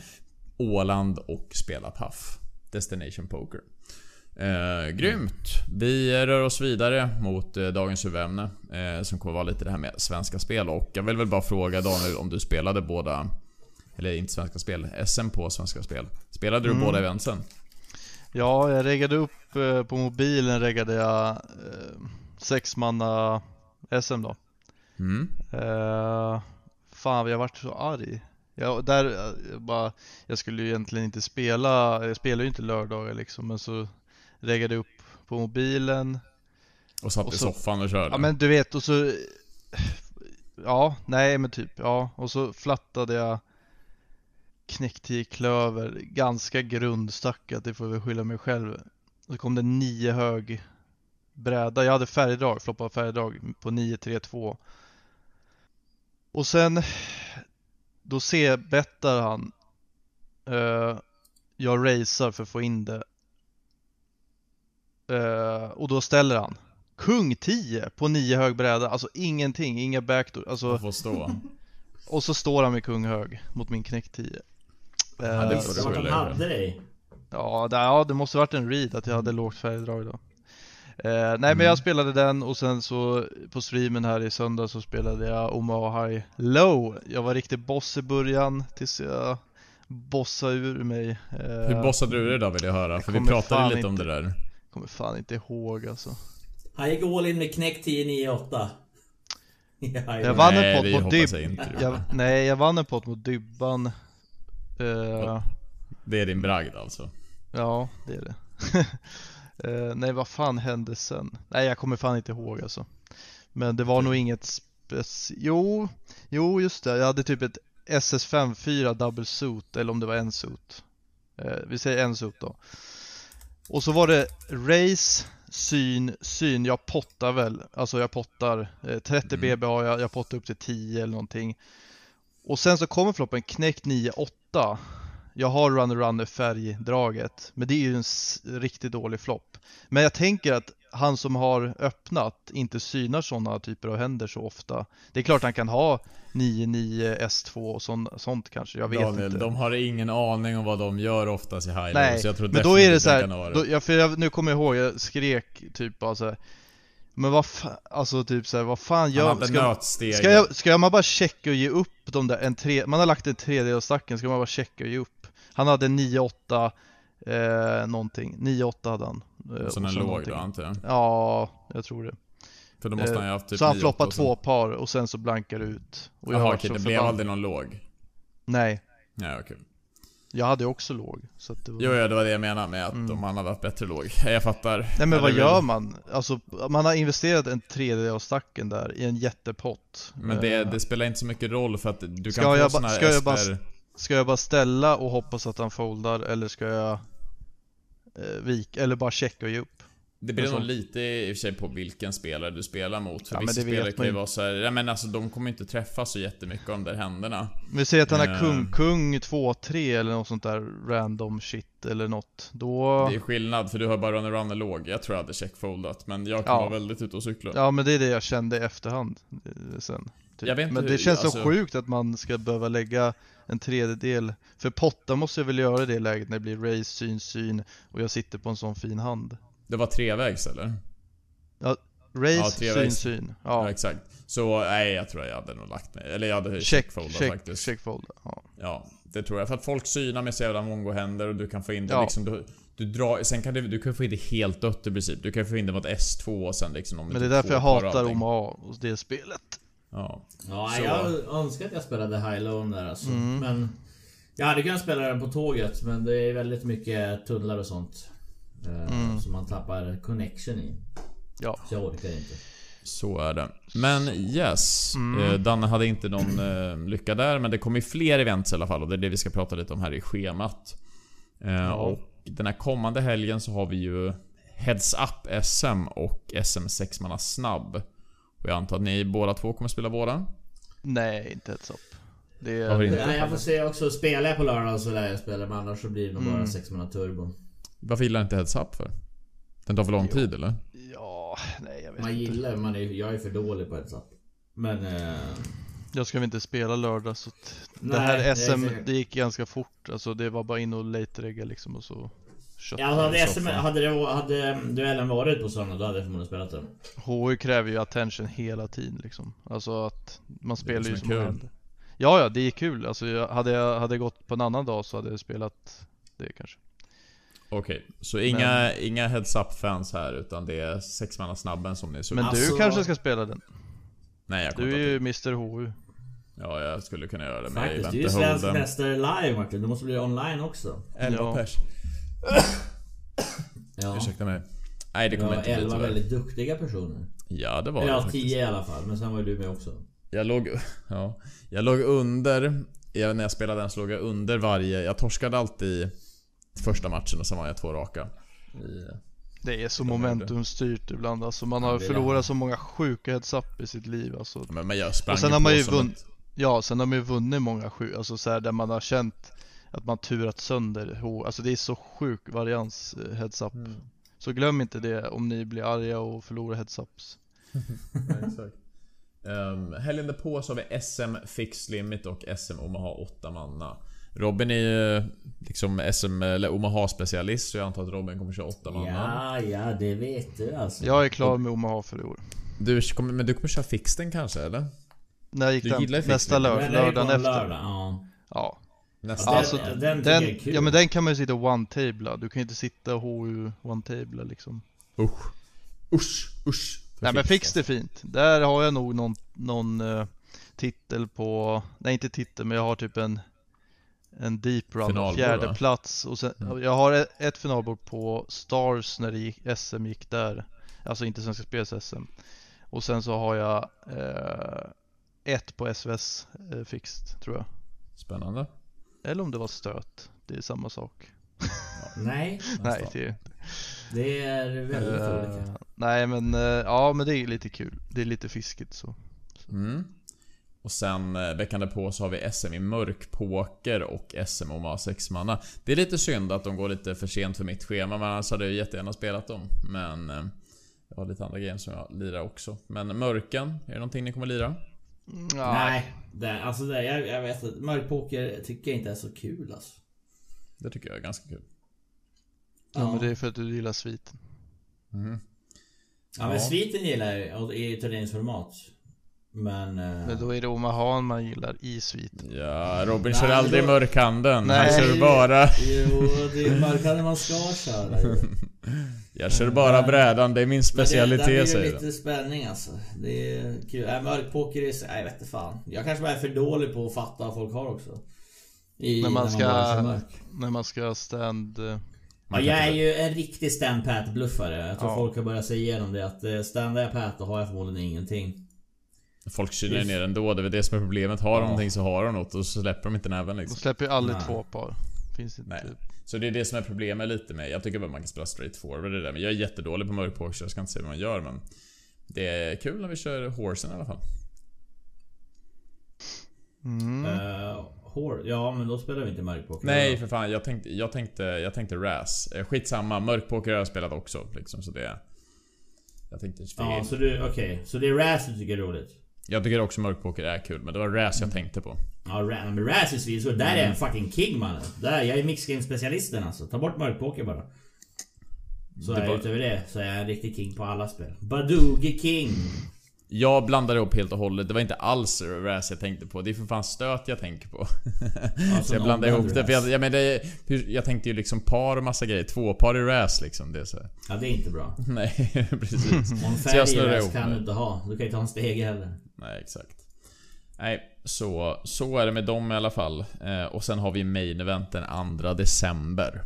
[SPEAKER 3] Åland och spela Paf. Destination Poker. Eh, grymt! Vi rör oss vidare mot eh, dagens huvudämne eh, som kommer vara lite det här med Svenska Spel och jag vill väl bara fråga Daniel om du spelade båda eller inte Svenska Spel, SM på Svenska Spel. Spelade
[SPEAKER 4] Mm.
[SPEAKER 3] du båda eventsen?
[SPEAKER 4] Ja, jag reggade upp eh, på mobilen reggade jag eh, sexmanna SM då.
[SPEAKER 3] Mm.
[SPEAKER 4] Eh, fan, jag vart så arg. Jag, där, eh, jag, bara, jag skulle ju egentligen inte spela, jag spelar ju inte lördagar liksom, men så reggade jag upp på mobilen.
[SPEAKER 3] Och satt
[SPEAKER 4] Och
[SPEAKER 3] i
[SPEAKER 4] så-
[SPEAKER 3] soffan och körde?
[SPEAKER 4] Ja men du vet och så Ja, nej men typ ja och så flattade jag knäckte i klöver ganska grundstackat, det får jag väl skylla mig själv. Och så kom det nio hög bräda. Jag hade färgdrag, floppade färgdrag på 9-3-2. Och sen då C-bettar han. Eh, jag racear för att få in det. Eh, och då ställer han Kung 10 på 9 hög bräda, alltså ingenting, inga backdoor, alltså,
[SPEAKER 3] Att få stå.
[SPEAKER 4] och så står han med kung hög mot min knäck 10.
[SPEAKER 3] Ja, det
[SPEAKER 4] Eh,
[SPEAKER 3] får
[SPEAKER 2] Så
[SPEAKER 3] du
[SPEAKER 2] att de
[SPEAKER 3] skylla dig själv.
[SPEAKER 2] hade dig.
[SPEAKER 4] Ja, det, ja, det måste varit en read att jag hade lågt färgdrag då. Eh, nej, men jag spelade den och sen så på streamen här i söndag så spelade jag Omahai Low. Jag var riktigt boss i början tills jag bossade ur mig. Eh,
[SPEAKER 3] Hur bossade du det då vill jag höra? För vi
[SPEAKER 4] kommer fan
[SPEAKER 3] pratade lite om
[SPEAKER 4] inte-
[SPEAKER 3] det där.
[SPEAKER 4] Kommer fan inte ihåg alltså.
[SPEAKER 2] Han gick all in med knäck 10-9-8. Ja,
[SPEAKER 4] Jag vann
[SPEAKER 3] Nej,
[SPEAKER 4] en
[SPEAKER 3] det
[SPEAKER 4] pott mot
[SPEAKER 3] hoppas jag
[SPEAKER 4] Dybban.
[SPEAKER 3] inte du
[SPEAKER 4] Jag, nej, jag vann en pott mot Dybban. Eh,
[SPEAKER 3] Det är din bragd alltså?
[SPEAKER 4] Ja, det är det. Eh, nej, vad fan hände sen? Nej, jag kommer fan inte ihåg alltså. Men det var nog inget spec... Jo, jo just det. Jag hade typ ett SS54 double suit, eller om det var en suit. Eh, vi säger en suit då. Och så var det race, syn, syn. Jag pottar väl. Alltså jag pottar. Eh, 30 BB har jag, jag pottar upp till 10 eller någonting. Och sen så kommer floppen knäckt 9-8. Jag har Runner Runner färgdraget, men det är ju en s- riktigt dålig flopp. Men jag tänker att han som har öppnat inte synar sådana typer av händer så ofta. Det är klart han kan ha 9-9 S2 och sån, sånt kanske, jag vet
[SPEAKER 3] Daniel,
[SPEAKER 4] inte.
[SPEAKER 3] de har ingen aning om vad de gör oftast i high
[SPEAKER 4] Nej,
[SPEAKER 3] low, så jag tror
[SPEAKER 4] men då är det
[SPEAKER 3] definitivt
[SPEAKER 4] så
[SPEAKER 3] de kan ha
[SPEAKER 4] här,
[SPEAKER 3] det.
[SPEAKER 4] då, ja, för jag, nu kommer jag ihåg, jag skrek typ bara så här, Men vad fan, alltså typ så här, vad fan
[SPEAKER 3] Han
[SPEAKER 4] gör
[SPEAKER 3] hade
[SPEAKER 4] ska,
[SPEAKER 3] nötsteget.
[SPEAKER 4] ska, jag, ska man bara checka och ge upp de där, en tre, man har lagt en tredjedel av stacken, ska man bara checka och ge upp? Han hade 9-8 eh, någonting, 9-8 hade han. eh, och
[SPEAKER 3] Så den
[SPEAKER 4] sen
[SPEAKER 3] låg
[SPEAKER 4] någonting.
[SPEAKER 3] då antar jag?
[SPEAKER 4] Ja, jag tror det.
[SPEAKER 3] För då måste
[SPEAKER 4] Eh,
[SPEAKER 3] han ju haft typ
[SPEAKER 4] så han
[SPEAKER 3] nio, åtta
[SPEAKER 4] floppar
[SPEAKER 3] och sen-
[SPEAKER 4] två par och sen så blankar det ut. Och jag
[SPEAKER 3] Jaha
[SPEAKER 4] vart
[SPEAKER 3] okej,
[SPEAKER 4] så
[SPEAKER 3] det blev
[SPEAKER 4] förbannad.
[SPEAKER 3] aldrig någon låg?
[SPEAKER 4] Nej,
[SPEAKER 3] Nej okej.
[SPEAKER 4] jag hade också låg. Så att det var...
[SPEAKER 3] Jo, ja, det var det jag menade med att
[SPEAKER 4] Mm.
[SPEAKER 3] om han hade haft bättre låg. Jag fattar.
[SPEAKER 4] Nej men vad gör man? Alltså, man har investerat en tredjedel av stacken där i en jättepott. Eh,
[SPEAKER 3] Men det, det spelar inte så mycket roll för att du
[SPEAKER 4] Ska
[SPEAKER 3] kan få
[SPEAKER 4] jag ba-
[SPEAKER 3] såna här
[SPEAKER 4] ska jag bara-
[SPEAKER 3] SPR.
[SPEAKER 4] Ska jag bara ställa och hoppas att han foldar eller ska jag eh, vika, eller bara checka och ge upp?
[SPEAKER 3] Det beror nog
[SPEAKER 4] Alltså-
[SPEAKER 3] lite i och för sig på vilken spelare du spelar mot. För
[SPEAKER 4] Ja, men
[SPEAKER 3] vissa
[SPEAKER 4] det vet
[SPEAKER 3] spelare kan
[SPEAKER 4] man
[SPEAKER 3] ju
[SPEAKER 4] ju.
[SPEAKER 3] vara så här, ja men alltså de kommer inte träffa så jättemycket av de där händerna.
[SPEAKER 4] Men säg att han har
[SPEAKER 3] Eh.
[SPEAKER 4] kung, kung 2-3 eller något sånt där random shit eller något. Då...
[SPEAKER 3] Det är skillnad för du har bara runner runner låg. Jag tror jag hade checkfoldat men jag kan
[SPEAKER 4] Ja.
[SPEAKER 3] vara väldigt ute och cykla.
[SPEAKER 4] Ja men det är det jag kände i efterhand eh, sen. Typ.
[SPEAKER 3] Jag vet inte
[SPEAKER 4] men det
[SPEAKER 3] hur-
[SPEAKER 4] känns så
[SPEAKER 3] alltså-
[SPEAKER 4] sjukt att man ska behöva lägga en tredjedel. För potta måste jag väl göra i det läget när det blir race, syn, syn och jag sitter på en sån fin hand.
[SPEAKER 3] Det var trevägs eller? Ja,
[SPEAKER 4] Race,
[SPEAKER 3] tre
[SPEAKER 4] syn,
[SPEAKER 3] race.
[SPEAKER 4] syn.
[SPEAKER 3] Ja.
[SPEAKER 4] Ja.
[SPEAKER 3] exakt. Så nej, jag tror jag hade nog lagt mig. Eller jag hade
[SPEAKER 4] Check,
[SPEAKER 3] checkfoldat
[SPEAKER 4] check,
[SPEAKER 3] faktiskt.
[SPEAKER 4] check fold. Ja.
[SPEAKER 3] Ja, det tror jag. För att folk synar med så jävla mongo händer och du kan få in det
[SPEAKER 4] Ja.
[SPEAKER 3] liksom. Du, Du drar, sen kan du, du kan få in det helt dött i princip. Du kan få in det mot S2 och sen liksom om
[SPEAKER 4] Men det
[SPEAKER 3] typ
[SPEAKER 4] är därför
[SPEAKER 3] får
[SPEAKER 4] jag
[SPEAKER 3] kvar
[SPEAKER 4] hatar
[SPEAKER 3] allting.
[SPEAKER 4] OMA och det spelet.
[SPEAKER 3] Ja.
[SPEAKER 2] Ja,
[SPEAKER 3] Så-
[SPEAKER 2] jag önskar att jag spelade High Loan där alltså.
[SPEAKER 3] Mm.
[SPEAKER 2] Men jag hade kunnat spela den på tåget men det är väldigt mycket tunnlar och sånt. eh,
[SPEAKER 3] Mm.
[SPEAKER 2] Som man tappar connection i.
[SPEAKER 4] Ja.
[SPEAKER 2] Så jag orkar inte.
[SPEAKER 3] Så är det. Men yes. Eh, Danne hade inte någon eh, lycka där men det kommer ju fler events i alla fall och det är det vi ska prata lite om här i schemat. Eh, Och den här kommande helgen så har vi ju Heads Up SM och SM 6 manna snabb. Och jag antar att ni båda två kommer spela båda?
[SPEAKER 4] Nej, inte heads up. Det
[SPEAKER 3] Varför
[SPEAKER 4] är...
[SPEAKER 3] inte?
[SPEAKER 2] Nej, jag får se också. Spelar jag på lördagen så lär jag spela men annars så blir det nog
[SPEAKER 3] Mm.
[SPEAKER 2] bara 6 man turbo.
[SPEAKER 3] Varför gillar ni inte Heads Up för? Den tar för lång tid eller?
[SPEAKER 4] Ja, nej jag vet
[SPEAKER 2] Man
[SPEAKER 4] inte.
[SPEAKER 2] gillar man är, jag är för dålig på heads-up. Men... Eh,
[SPEAKER 4] Jag ska väl inte spela lördag så att
[SPEAKER 2] Nej,
[SPEAKER 4] Det
[SPEAKER 2] jag är
[SPEAKER 4] här
[SPEAKER 2] säker.
[SPEAKER 4] SM, det gick ganska fort. Alltså det var bara in och late-regga liksom och så... Kött.
[SPEAKER 2] ja, hade,
[SPEAKER 3] så
[SPEAKER 2] SM,
[SPEAKER 3] fan.
[SPEAKER 2] hade, det, hade duellen varit på söndag då hade jag förmodligen spelat den.
[SPEAKER 4] HU kräver ju attention hela tiden liksom. Alltså att man spelar ju
[SPEAKER 3] som
[SPEAKER 4] som
[SPEAKER 3] är
[SPEAKER 4] man
[SPEAKER 3] kul.
[SPEAKER 4] händer. Ja, ja, det är kul. Alltså jag, hade jag hade gått på en annan dag så hade jag spelat det kanske.
[SPEAKER 3] Okej, så inga, inga Heads Up-fans här utan det är 6 manna snabben som ni är
[SPEAKER 4] Men
[SPEAKER 3] sugna
[SPEAKER 2] Alltså-
[SPEAKER 4] du kanske ska spela den?
[SPEAKER 3] Nej jag kommer
[SPEAKER 4] Typ. Du
[SPEAKER 3] inte
[SPEAKER 4] är ju Mr HU.
[SPEAKER 3] Ja, jag skulle kunna göra det men
[SPEAKER 2] Faktiskt,
[SPEAKER 3] jag
[SPEAKER 2] du är ju
[SPEAKER 3] väntar
[SPEAKER 2] svensk
[SPEAKER 3] Holden.
[SPEAKER 2] mästare live Martin. Du måste bli online också.
[SPEAKER 3] 11
[SPEAKER 4] Ja.
[SPEAKER 3] pers.
[SPEAKER 2] Ja.
[SPEAKER 3] Ursäkta mig. Nej, det
[SPEAKER 2] Vi
[SPEAKER 3] kommer
[SPEAKER 2] var
[SPEAKER 3] inte bli
[SPEAKER 2] 11
[SPEAKER 3] tyvärr.
[SPEAKER 2] väldigt duktiga personer.
[SPEAKER 3] Ja, det var det
[SPEAKER 2] Eller ja,
[SPEAKER 3] faktiskt.
[SPEAKER 2] 10 i alla fall. Men sen var ju du med också.
[SPEAKER 3] Jag låg, ja, jag låg under, jag, när jag spelade den så låg jag under varje, jag torskade alltid första matchen och sen var jag två raka. I-
[SPEAKER 4] Det är så momentumstyrt ibland alltså. Man har
[SPEAKER 2] det är
[SPEAKER 4] förlorat så många sjuka heads-up i sitt liv alltså.
[SPEAKER 3] Men, men jag sprang
[SPEAKER 4] Och sen
[SPEAKER 3] ju
[SPEAKER 4] har
[SPEAKER 3] på
[SPEAKER 4] man ju
[SPEAKER 3] som
[SPEAKER 4] vunnit,
[SPEAKER 3] ett-
[SPEAKER 4] ja sen har man ju vunnit många sju, alltså så här, där man har känt att man turat sönder H, alltså det är så sjuk varians eh, heads up.
[SPEAKER 2] Mm.
[SPEAKER 4] Så glöm inte det om ni blir arga och förlorar heads ups.
[SPEAKER 3] Ehm, helgen därpå så har vi SM Fixed Limit och SM Omaha 8 manna. Robin är ju liksom SM eller Omaha specialist så jag antar att Robin kommer köra 8 manna.
[SPEAKER 2] Ja, ja, det vet du alltså.
[SPEAKER 4] Jag är klar med Omaha för i år.
[SPEAKER 3] Du kommer, men du kommer köra fixten kanske eller?
[SPEAKER 4] När gick
[SPEAKER 3] Du
[SPEAKER 4] den?
[SPEAKER 3] gillar ju
[SPEAKER 4] Nästa
[SPEAKER 3] fixning.
[SPEAKER 2] Men
[SPEAKER 4] lördag,
[SPEAKER 2] det är ju på
[SPEAKER 4] lördagen
[SPEAKER 2] en
[SPEAKER 4] efter?
[SPEAKER 2] Lördag, ja.
[SPEAKER 4] Ja.
[SPEAKER 3] Nästa.
[SPEAKER 2] Den,
[SPEAKER 4] Alltså,
[SPEAKER 2] den, den tycker
[SPEAKER 4] Den,
[SPEAKER 2] jag är kul.
[SPEAKER 4] ja men den kan man ju sitta one-tabla, du kan ju inte sitta HU one-tabla liksom.
[SPEAKER 3] Usch. Usch. Usch. För
[SPEAKER 4] Nej men fix
[SPEAKER 3] fixen.
[SPEAKER 4] det fint. Där har jag nog någon, någon eh, titel på, nej inte titel men jag har typ en, en deep run,
[SPEAKER 3] Finalbord,
[SPEAKER 4] fjärde
[SPEAKER 3] va?
[SPEAKER 4] plats och sen, jag har ett, ett finalbord på Stars när det gick, SM gick där. Alltså inte Svenska Spels SM. Och sen så har jag eh, ett på SVS eh, fixed tror jag.
[SPEAKER 3] Spännande.
[SPEAKER 4] Eller om det var stöt, det är samma sak.
[SPEAKER 2] Nej,
[SPEAKER 4] Nej, det är
[SPEAKER 2] det är väldigt
[SPEAKER 4] eh,
[SPEAKER 2] olika.
[SPEAKER 4] Nej men, eh, ja men det är lite kul. Det är lite fiskigt så.
[SPEAKER 3] Mm. Och sen eh, veckan därpå så har vi SM i mörkpoker och SM Omaha 6 manna. Det är lite synd att de går lite för sent för mitt schema men annars hade jag jättegärna spelat dem. Men eh, jag har lite andra grejer som jag lirar också. Men mörken, är det någonting ni kommer lira?
[SPEAKER 4] Mm,
[SPEAKER 2] Nej, det, alltså det, jag, jag vet att mörkpoker tycker jag inte är så kul alltså.
[SPEAKER 3] Det tycker jag är ganska kul.
[SPEAKER 4] Ja, men
[SPEAKER 2] Ja.
[SPEAKER 4] det är för att du gillar sviten.
[SPEAKER 3] Mm.
[SPEAKER 2] Ja men
[SPEAKER 3] Ja.
[SPEAKER 2] sviten gillar jag ju och i turneringsformat. Men... eh,
[SPEAKER 4] Men då är det Omaha man gillar i sviten.
[SPEAKER 3] Ja, Robin
[SPEAKER 2] Nej,
[SPEAKER 3] kör
[SPEAKER 2] men
[SPEAKER 3] aldrig
[SPEAKER 2] då-
[SPEAKER 3] mörkhanden. Han
[SPEAKER 4] Nej.
[SPEAKER 3] kör bara...
[SPEAKER 2] Jo, det är mörkare man ska köra ju.
[SPEAKER 3] Jag kör bara brädan, det är min
[SPEAKER 2] Men det,
[SPEAKER 3] specialitet
[SPEAKER 2] där blir
[SPEAKER 3] säger
[SPEAKER 2] det
[SPEAKER 3] han.
[SPEAKER 2] lite spänning alltså. Det är kul. Äh, mörkpoker är... så- Nej, jag vet inte fan. Jag kanske bara är för dålig på att fatta vad folk har också. I,
[SPEAKER 4] När man ska-
[SPEAKER 2] bara kör mörk.
[SPEAKER 4] När man ska stand... eh,
[SPEAKER 2] Ja, jag är ju en riktig stand pat bluffare Jag tror
[SPEAKER 4] Ja.
[SPEAKER 2] folk har börjat se igenom det att eh, standar jag pat då har jag förmodligen ingenting.
[SPEAKER 3] Folk kyler ner ändå, det är väl det som är problemet. Har de någonting så har de något och så släpper de inte näven
[SPEAKER 4] De
[SPEAKER 3] liksom.
[SPEAKER 4] släpper ju aldrig
[SPEAKER 2] Nej.
[SPEAKER 4] två par. Finns inte.
[SPEAKER 3] Nej. Så det är det som är problemet lite med... Jag tycker bara man kan spela straight forward i det där. Men jag är jättedålig på mörkpoker så jag ska inte säga vad man gör men... Det är kul när vi kör horsen i alla fall.
[SPEAKER 4] Mm.
[SPEAKER 2] Eh, hår. Ja men då spelar vi inte mörkpoker.
[SPEAKER 3] Nej
[SPEAKER 2] Då.
[SPEAKER 3] för fan, jag tänkte... Jag tänkte, jag tänkte RAS. Eh, Skitsamma, mörkpoker har jag spelat också liksom så det... Jag tänkte...
[SPEAKER 2] Ja så du, okej. Så det är Raz du tycker är roligt?
[SPEAKER 3] Jag tycker också mörkpoker är kul men det var RAS jag tänkte på.
[SPEAKER 2] Ja Raz, men Raz är svinsvår. Där
[SPEAKER 3] Mm.
[SPEAKER 2] är jag en fucking king mannen. Där, jag är mixgame specialisten alltså. Ta bort mörkpoker bara. Så
[SPEAKER 3] Det
[SPEAKER 2] är
[SPEAKER 3] var-
[SPEAKER 2] jag utöver det så är jag en riktig king på alla spel. Badugi king.
[SPEAKER 3] Jag blandade upp helt och hållet. Det var inte alls RAS jag tänkte på. Det är för fan stöt jag tänker på.
[SPEAKER 2] Alltså,
[SPEAKER 3] så jag blandade ihop det. För jag, jag, men det hur, jag tänkte ju liksom par och massa grejer. Två par i RAS liksom. Det är så. här.
[SPEAKER 2] Ja, det är inte bra.
[SPEAKER 3] Nej, precis.
[SPEAKER 2] Och en
[SPEAKER 3] Mm. jag
[SPEAKER 2] färg i
[SPEAKER 3] snurrar
[SPEAKER 2] räls
[SPEAKER 3] ihop
[SPEAKER 2] kan
[SPEAKER 3] nu.
[SPEAKER 2] du inte ha. Du kan inte ha en stege heller.
[SPEAKER 3] Nej, exakt. Nej, så, så är det med dem i alla fall. Eh, och sen har vi main eventen 2 december.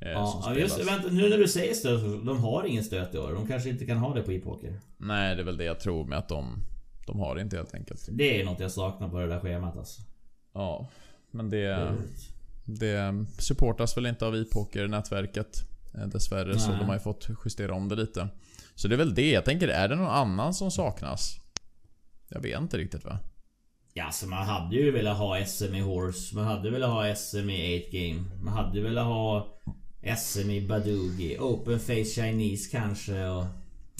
[SPEAKER 3] Eh,
[SPEAKER 2] Ja,
[SPEAKER 3] som
[SPEAKER 2] ja, just
[SPEAKER 3] spelas.
[SPEAKER 2] vänta, nu när du säger stöt, de har ingen stöt i år. De kanske inte kan ha det på e-poker.
[SPEAKER 3] Nej, det är väl det jag tror med att de... De har det inte helt enkelt.
[SPEAKER 2] Det är något jag saknar på det där schemat alltså.
[SPEAKER 3] Ja. Men det...
[SPEAKER 2] Mm.
[SPEAKER 3] Det supportas väl inte av e-poker-nätverket. eh, Dessvärre så
[SPEAKER 2] Nej.
[SPEAKER 3] de har ju fått justera om det lite. Så det är väl det. Jag tänker, är det någon annan som saknas? Jag vet inte riktigt va?
[SPEAKER 2] Ja, så man hade ju velat ha SM i Horse, man hade velat ha SM i 8 Game, man hade velat ha SM i Badugi, Open Face Chinese kanske och...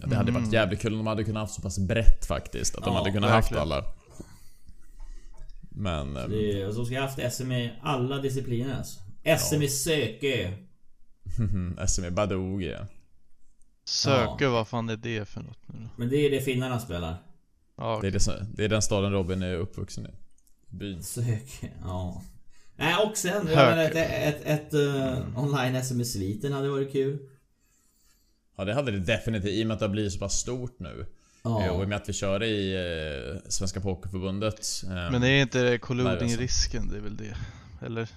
[SPEAKER 3] Ja, det hade varit jävligt kul om de hade kunnat haft så pass brett faktiskt. Att de
[SPEAKER 2] Mm. Ja,
[SPEAKER 3] hade kunnat
[SPEAKER 4] verkligen.
[SPEAKER 3] haft alla. Men... ehm,
[SPEAKER 2] Det, och så ska jag haft SM i alla discipliner alltså. SM i Sökö.
[SPEAKER 3] SME Badoogie.
[SPEAKER 4] Söker, vad fan är det för något nu då?
[SPEAKER 2] Men det är det finnarna spelar.
[SPEAKER 4] Ja,
[SPEAKER 3] Det, är det, som- det är den staden Robin är uppvuxen i. Byn.
[SPEAKER 2] Sökö, ja. Nej och sen, jag
[SPEAKER 4] Hökö.
[SPEAKER 2] menar, ett, ett, ett eh, online SM i sviten hade varit kul.
[SPEAKER 3] Ja det hade det definitivt i och med att det har blivit så pass stort nu. Eh, Och i och
[SPEAKER 2] Ja.
[SPEAKER 3] med att vi kör i eh, Svenska Pokerförbundet. ehm,
[SPEAKER 4] Men är inte det
[SPEAKER 3] Nej, det är
[SPEAKER 4] colluding-risken, det är väl det? Eller?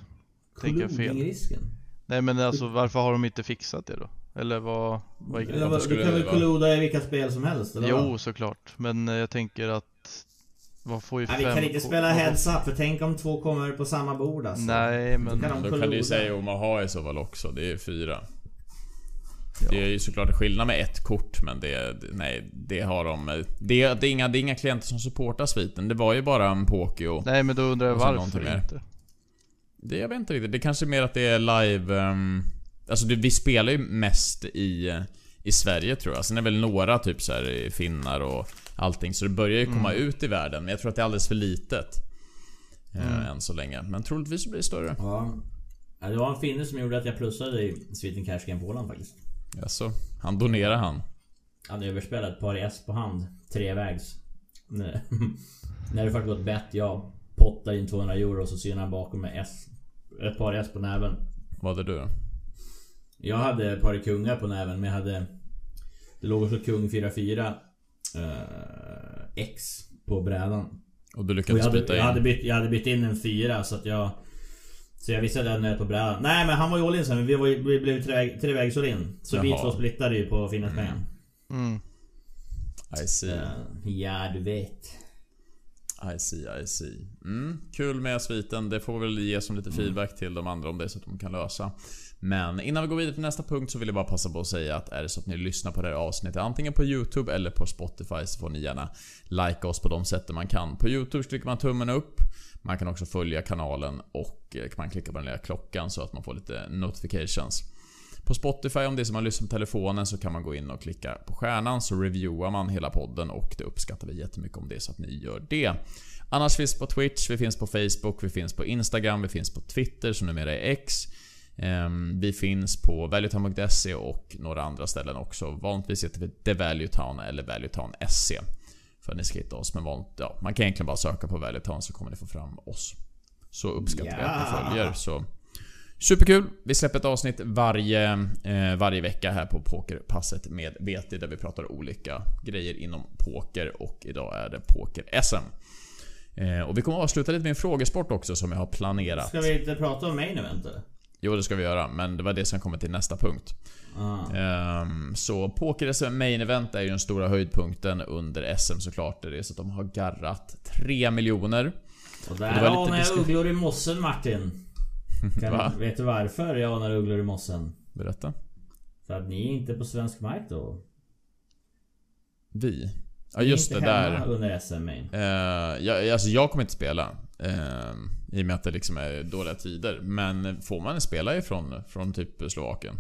[SPEAKER 4] Tänker jag fel?
[SPEAKER 2] Kollodingrisken.
[SPEAKER 4] Nej men alltså varför har de inte fixat det då? Eller vad, vad är grejen?
[SPEAKER 2] Ja,
[SPEAKER 3] skulle
[SPEAKER 2] Du kan
[SPEAKER 3] det
[SPEAKER 2] väl
[SPEAKER 3] vara?
[SPEAKER 2] kolloda i vilka spel som helst? Eller vad?
[SPEAKER 4] Jo såklart, men eh, jag tänker att... Vad får ju
[SPEAKER 2] Nej, vi
[SPEAKER 4] fem
[SPEAKER 2] kan inte
[SPEAKER 4] ko-
[SPEAKER 2] spela
[SPEAKER 4] vad-
[SPEAKER 2] heads up, för tänk om två kommer på samma bord alltså.
[SPEAKER 4] Nej
[SPEAKER 2] Då kan
[SPEAKER 4] men...
[SPEAKER 2] de
[SPEAKER 3] Då kan du
[SPEAKER 2] kolloda.
[SPEAKER 3] ju säga Omaha i så fall också. Det är fyra. Det är ju såklart en skillnad med ett kort men det... Nej, det har de... Det, det, är, inga, det är inga klienter som supportar sviten. Det var ju bara en Pokio.
[SPEAKER 4] Nej men då undrar jag
[SPEAKER 3] Och så någonting
[SPEAKER 4] varför
[SPEAKER 3] mer.
[SPEAKER 4] inte.
[SPEAKER 3] Det, jag vet inte riktigt. Det kanske är mer att det är live... ehm, alltså det, vi spelar ju mest i, eh, i Sverige tror jag. Sen är det väl några typ så här i finnar och allting. Så det börjar ju komma ut i världen. Men jag tror att det är alldeles för litet. eh, Än så länge. Men troligtvis så blir det större.
[SPEAKER 2] Ja. Ja, Det var en finne som gjorde att jag plussade i Sweden Cash Game på Åland faktiskt.
[SPEAKER 3] Alltså, han donerar han.
[SPEAKER 2] Han överspelade ett par i S på hand. Trevägs. Nej. När det faktiskt gått bett, jag pottar in 200 euro och så synar han bakom med S. Ett par i S på näven.
[SPEAKER 3] Vad är du?
[SPEAKER 2] Jag hade ett par i kungar på näven men jag hade... Det låg också kung 4-4 eh, X på brädan.
[SPEAKER 3] Och du
[SPEAKER 2] Och
[SPEAKER 3] lyckades
[SPEAKER 2] jag, hade,
[SPEAKER 3] byta
[SPEAKER 2] jag,
[SPEAKER 3] in?
[SPEAKER 2] hade bytt, jag hade bytt in en fyra så att jag... Så jag visste att jag hade nöt på brädan. Nej men han var ju all in sen, men vi, var, ju- vi blev ju treväg- trevägs all in. Så vi
[SPEAKER 3] Jaha.
[SPEAKER 2] två splittade ju på finnarpengen.
[SPEAKER 4] Mm.
[SPEAKER 3] I see,
[SPEAKER 2] Eh, Ja du vet.
[SPEAKER 3] I see, I see. Mm, kul med sviten. Det får vi väl ge som lite feedback till de andra om det är så att de kan lösa. Men innan vi går vidare till nästa punkt så vill jag bara passa på att säga att är det så att ni lyssnar på det här avsnittet antingen på YouTube eller på Spotify så får ni gärna likea oss på de sätten man kan. På YouTube så klickar man tummen upp. Man kan också följa kanalen och eh, man klickar på den lilla klockan så att man får lite notifications. På Spotify, om det är som man lyssnar på telefonen, så kan man gå in och klicka på stjärnan så reviewar man hela podden och det uppskattar vi jättemycket om det är så att ni gör det. Annars finns vi på Twitch, vi finns på Facebook, vi finns på Instagram, vi finns på Twitter som numera är X. Ehm, Vi finns på valuetown.se och några andra ställen också. Vanligtvis heter vi The Value Town eller valuetown.se. För att ni ska hitta oss. Men vanligt, ja, man kan egentligen bara söka på Value Town så kommer ni få fram oss. Så uppskattar vi att ni
[SPEAKER 2] Ja.
[SPEAKER 3] följer. Så Superkul! Vi släpper ett avsnitt varje, eh, varje vecka här på Pokerpasset med BT där vi pratar olika grejer inom poker och idag är det Poker-SM. Eh, och vi kommer avsluta lite med en frågesport också som jag har planerat.
[SPEAKER 2] Ska vi inte prata om main event eller?
[SPEAKER 3] Jo, det ska vi göra, men det var det som kommer till nästa punkt.
[SPEAKER 2] Ah.
[SPEAKER 3] Ehm, så Poker-SM Main Event är ju den stora höjdpunkten under SM såklart. Det är så att de har garrat 3 miljoner.
[SPEAKER 2] Och
[SPEAKER 3] det
[SPEAKER 2] där
[SPEAKER 3] var lite
[SPEAKER 2] anar jag
[SPEAKER 3] diskussion-
[SPEAKER 2] ugglor i mossen Martin. Kan,
[SPEAKER 3] Va?
[SPEAKER 2] Vet du varför jag anar ugglor i mossen?
[SPEAKER 3] Berätta.
[SPEAKER 2] För att ni är inte på svensk mark då.
[SPEAKER 3] Vi. Ja,
[SPEAKER 2] Ni är
[SPEAKER 3] just det
[SPEAKER 2] inte
[SPEAKER 3] där.
[SPEAKER 2] hemma under SM main.
[SPEAKER 3] Eh, jag, alltså jag kommer inte spela. eh, I och med att det liksom är dåliga tider. Men får man spela ifrån från typ Slovakien?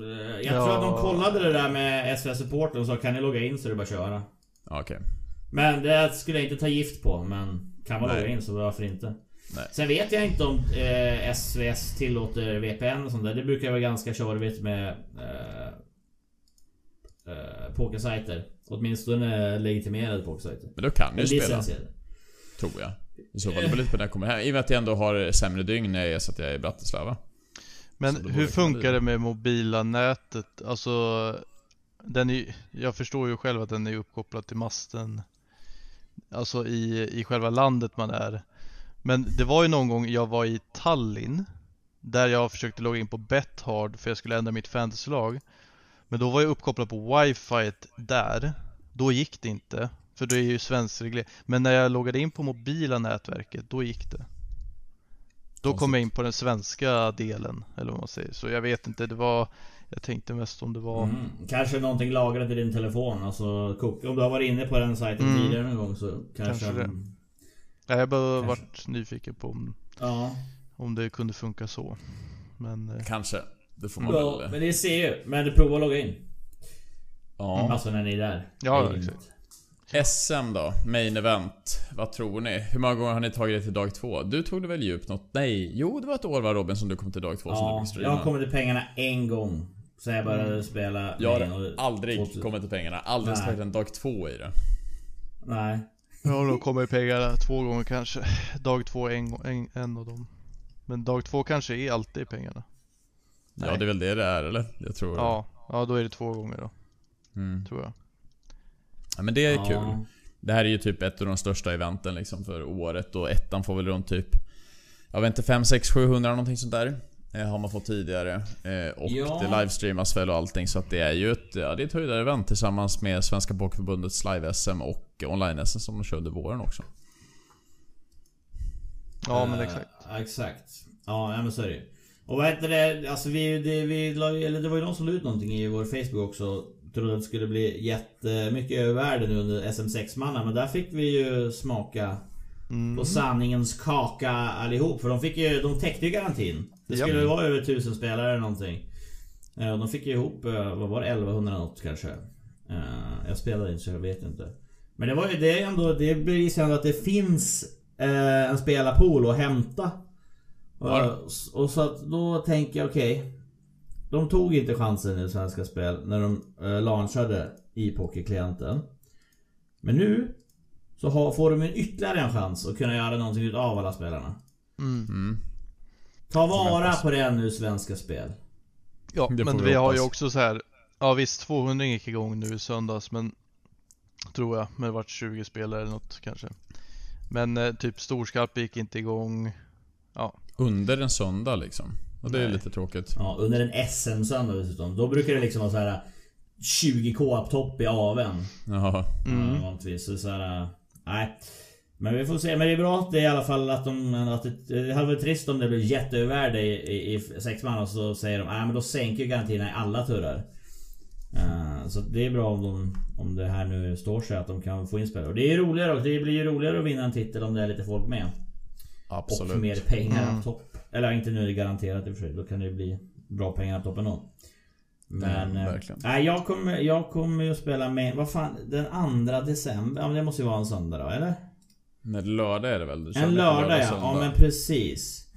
[SPEAKER 2] Eh, Jag
[SPEAKER 4] Ja.
[SPEAKER 2] tror att de kollade det där med SV supporten och sa kan ni logga in så är det bara att köra.
[SPEAKER 3] Ja, Okej.
[SPEAKER 2] Men det skulle jag inte ta gift på men kan man
[SPEAKER 3] Nej.
[SPEAKER 2] logga in så varför inte?
[SPEAKER 3] Nej.
[SPEAKER 2] Sen vet jag inte om eh, SVS tillåter VPN och sånt där. Det brukar vara ganska tjorvigt med eh, eh, pokersajter. Åtminstone legitimerade pokersajter.
[SPEAKER 3] Men då kan du spela,
[SPEAKER 2] Licensierade.
[SPEAKER 3] tror jag. I så fall, det beror lite på när jag kommer hem. I och med att jag ändå har sämre dygn när jag så att jag är i Bratislava.
[SPEAKER 4] Men
[SPEAKER 3] Så det borde
[SPEAKER 4] hur
[SPEAKER 3] kunna bli
[SPEAKER 4] funkar det med mobila nätet? Alltså, den är, ju- jag förstår ju själv att den är uppkopplad till masten Alltså i, i själva landet man är Men det var ju någon gång jag var i Tallinn Där jag försökte logga in på Bethard för jag skulle ändra mitt fantasylag Men då var jag uppkopplad på wifi där Då gick det inte För det är ju svenskreglerat Men när jag loggade in på mobila nätverket, då gick det då kom jag in på den svenska delen, eller vad man säger. Så jag vet inte, det var... Jag tänkte mest om det var...
[SPEAKER 2] Mm. Kanske någonting lagrat i din telefon. Alltså, kok- om du har varit inne på den sajten
[SPEAKER 4] Mm.
[SPEAKER 2] tidigare någon gång så kanske...
[SPEAKER 4] Kanske det.
[SPEAKER 2] den-
[SPEAKER 4] Nej, jag bara
[SPEAKER 2] Kanske.
[SPEAKER 4] varit nyfiken på om,
[SPEAKER 2] Ja.
[SPEAKER 4] om det kunde funka så. Men... eh,
[SPEAKER 3] Kanske. Det får man
[SPEAKER 2] ja.
[SPEAKER 3] väl...
[SPEAKER 2] Men det ser ju. Men du provar att logga in.
[SPEAKER 3] Ja.
[SPEAKER 2] Alltså när ni är där.
[SPEAKER 4] Ja,
[SPEAKER 2] Det är liksom-
[SPEAKER 4] exakt.
[SPEAKER 2] inte-
[SPEAKER 3] SM då? Main event. Vad tror ni? Hur många gånger har ni tagit er till dag två? Du tog det väl djupt något? Nej. Jo, det var ett år va Robin som du kom till dag två som du
[SPEAKER 2] Ja,
[SPEAKER 3] fick streama.
[SPEAKER 2] jag kom till pengarna en gång. Sen jag
[SPEAKER 3] Mm.
[SPEAKER 2] började spela...
[SPEAKER 3] Jag
[SPEAKER 2] main
[SPEAKER 3] har
[SPEAKER 2] och-
[SPEAKER 3] aldrig
[SPEAKER 2] 2000.
[SPEAKER 3] kommit till pengarna. Aldrig
[SPEAKER 2] Nej.
[SPEAKER 3] tagit en dag två i det.
[SPEAKER 2] Nej.
[SPEAKER 4] Ja, då kommer jag pengarna två gånger kanske. Dag två en, gång- en, en av dem. Men dag två kanske är alltid pengarna.
[SPEAKER 3] Ja, det är väl det det är eller? Jag tror det.
[SPEAKER 4] Ja, ja då är det två gånger då,
[SPEAKER 3] Mm.
[SPEAKER 4] tror jag.
[SPEAKER 3] Ja, men det är
[SPEAKER 2] ja.
[SPEAKER 3] kul. Det här är ju typ ett av de största eventen liksom för året och ettan får väl runt typ... Jag vet inte, 5, 6, 700 någonting sånt där. Eh, har man fått tidigare. Eh, och
[SPEAKER 2] Ja.
[SPEAKER 3] det livestreamas väl och allting så att det är ju ett, ja, det är ett höjdarevent tillsammans med Svenska Bockförbundets live-SM och online-SM som de kör under våren också.
[SPEAKER 4] Ja, men
[SPEAKER 2] Eh,
[SPEAKER 4] exakt.
[SPEAKER 2] Exakt. Ja, ja men så är det ju. Och vad heter det? Alltså vi, det, vi la, ju- eller det var ju någon som la ut någonting i vår Facebook också. Trodde att det skulle bli jättemycket övervärde nu under SM6-manna. Men där fick vi ju smaka
[SPEAKER 4] Mm.
[SPEAKER 2] på sanningens kaka allihop. För de, fick ju, de täckte ju garantin. Det
[SPEAKER 4] Japp.
[SPEAKER 2] skulle vara över 1000 spelare eller någonting. Eh, och De fick ju ihop, eh, vad var det, 1100 något kanske. Eh, Jag spelade inte så jag vet inte. Men det var ju det är ändå, det bevisar ändå att det finns eh, en spelarpool att hämta. Och,
[SPEAKER 3] Ja.
[SPEAKER 2] och så att då tänker jag okej. de tog inte chansen i Svenska Spel när de eh, launchade i pokerklienten. Men nu så har, får de en ytterligare en chans att kunna göra någonting utav alla spelarna.
[SPEAKER 3] Mm.
[SPEAKER 2] Ta vara på det nu Svenska Spel.
[SPEAKER 4] Ja,
[SPEAKER 3] Det får
[SPEAKER 4] men
[SPEAKER 3] vi
[SPEAKER 4] vi har ju
[SPEAKER 3] hoppas.
[SPEAKER 4] också så här. Ja visst, 200 gick igång nu i söndags, men tror jag. Men det vart 20 spelare eller något kanske. Men eh, typ storskarp gick inte igång.
[SPEAKER 3] Under en söndag liksom. Och det är
[SPEAKER 4] Nej.
[SPEAKER 3] lite tråkigt.
[SPEAKER 2] Ja, under en SM-söndag dessutom. Då brukar det liksom vara så här 20 k-topp i aven.
[SPEAKER 3] Jaha.
[SPEAKER 2] Mm. Vanligtvis. Så, så här, äh, nej. Men vi får se. Men det är bra att det i alla fall att de... Att det, det hade varit trist om det blev jätteövervärde i, i, i sex man och så säger de nej men då sänker ju garantierna i alla turer. Eh, så det är bra om, de, om det här nu står sig att de kan få in spelare. Och det är roligare och det blir ju roligare att vinna en titel om det är lite folk med. Och mer
[SPEAKER 3] Absolut.
[SPEAKER 2] pengar mm. topp. Eller inte nu är det garanterat i och för sig. Då kan det ju bli bra pengar topp ändå. Men...
[SPEAKER 3] Mm,
[SPEAKER 2] eh,
[SPEAKER 3] verkligen.
[SPEAKER 2] nej, jag kommer, jag kommer ju att spela med... Vad fan? Den 2 december? Ja men det måste ju vara en söndag då, eller?
[SPEAKER 3] Nej, lördag är det väl? Du körde
[SPEAKER 2] En
[SPEAKER 3] lite
[SPEAKER 2] lördag ja.
[SPEAKER 3] söndag.
[SPEAKER 2] Ja men precis.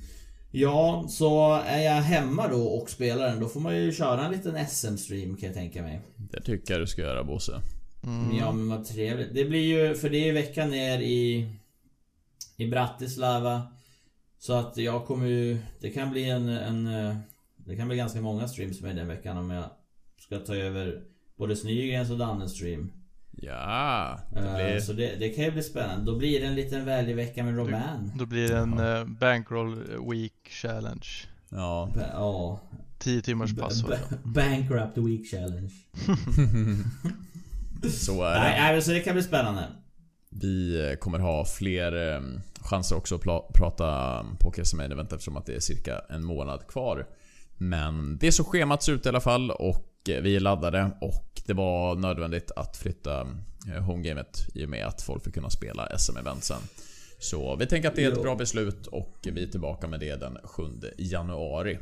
[SPEAKER 2] Ja, så är jag hemma då och spelar den, då får man ju köra en liten SM-stream kan jag tänka mig.
[SPEAKER 3] Det tycker jag du ska göra Bosse.
[SPEAKER 4] Mm.
[SPEAKER 3] Mm.
[SPEAKER 2] Ja men vad trevligt. Det blir ju, för det är ju veckan ner i, i Bratislava. Så att jag kommer ju, det kan bli en, en eh, Det kan bli ganska många streams med den veckan om jag ska ta över både Snygrens och Dannes stream.
[SPEAKER 3] Ja, det
[SPEAKER 2] Eh,
[SPEAKER 3] blir...
[SPEAKER 2] Så det, det kan ju bli spännande. Då blir det en liten väldig vecka med Roman.
[SPEAKER 4] Då blir det en eh, bankroll week challenge.
[SPEAKER 3] Ja.
[SPEAKER 2] Ba- Ja.
[SPEAKER 4] 10 timmars pass var det.
[SPEAKER 2] Ba- Bankrupt Week Challenge.
[SPEAKER 3] Så är det.
[SPEAKER 2] Nej, nej, men så det kan bli spännande.
[SPEAKER 3] Vi eh, kommer ha fler eh, chanser också att pla- prata poker som main event eftersom att det är cirka en månad kvar. Men det är så schemat ser ut i alla fall och eh, vi är laddade och det var nödvändigt att flytta eh, homegamet i och med att folk fick kunna spela SM-event sen. Så vi tänker att det är ett
[SPEAKER 2] Ja.
[SPEAKER 3] bra beslut och vi är tillbaka med det den 7 januari.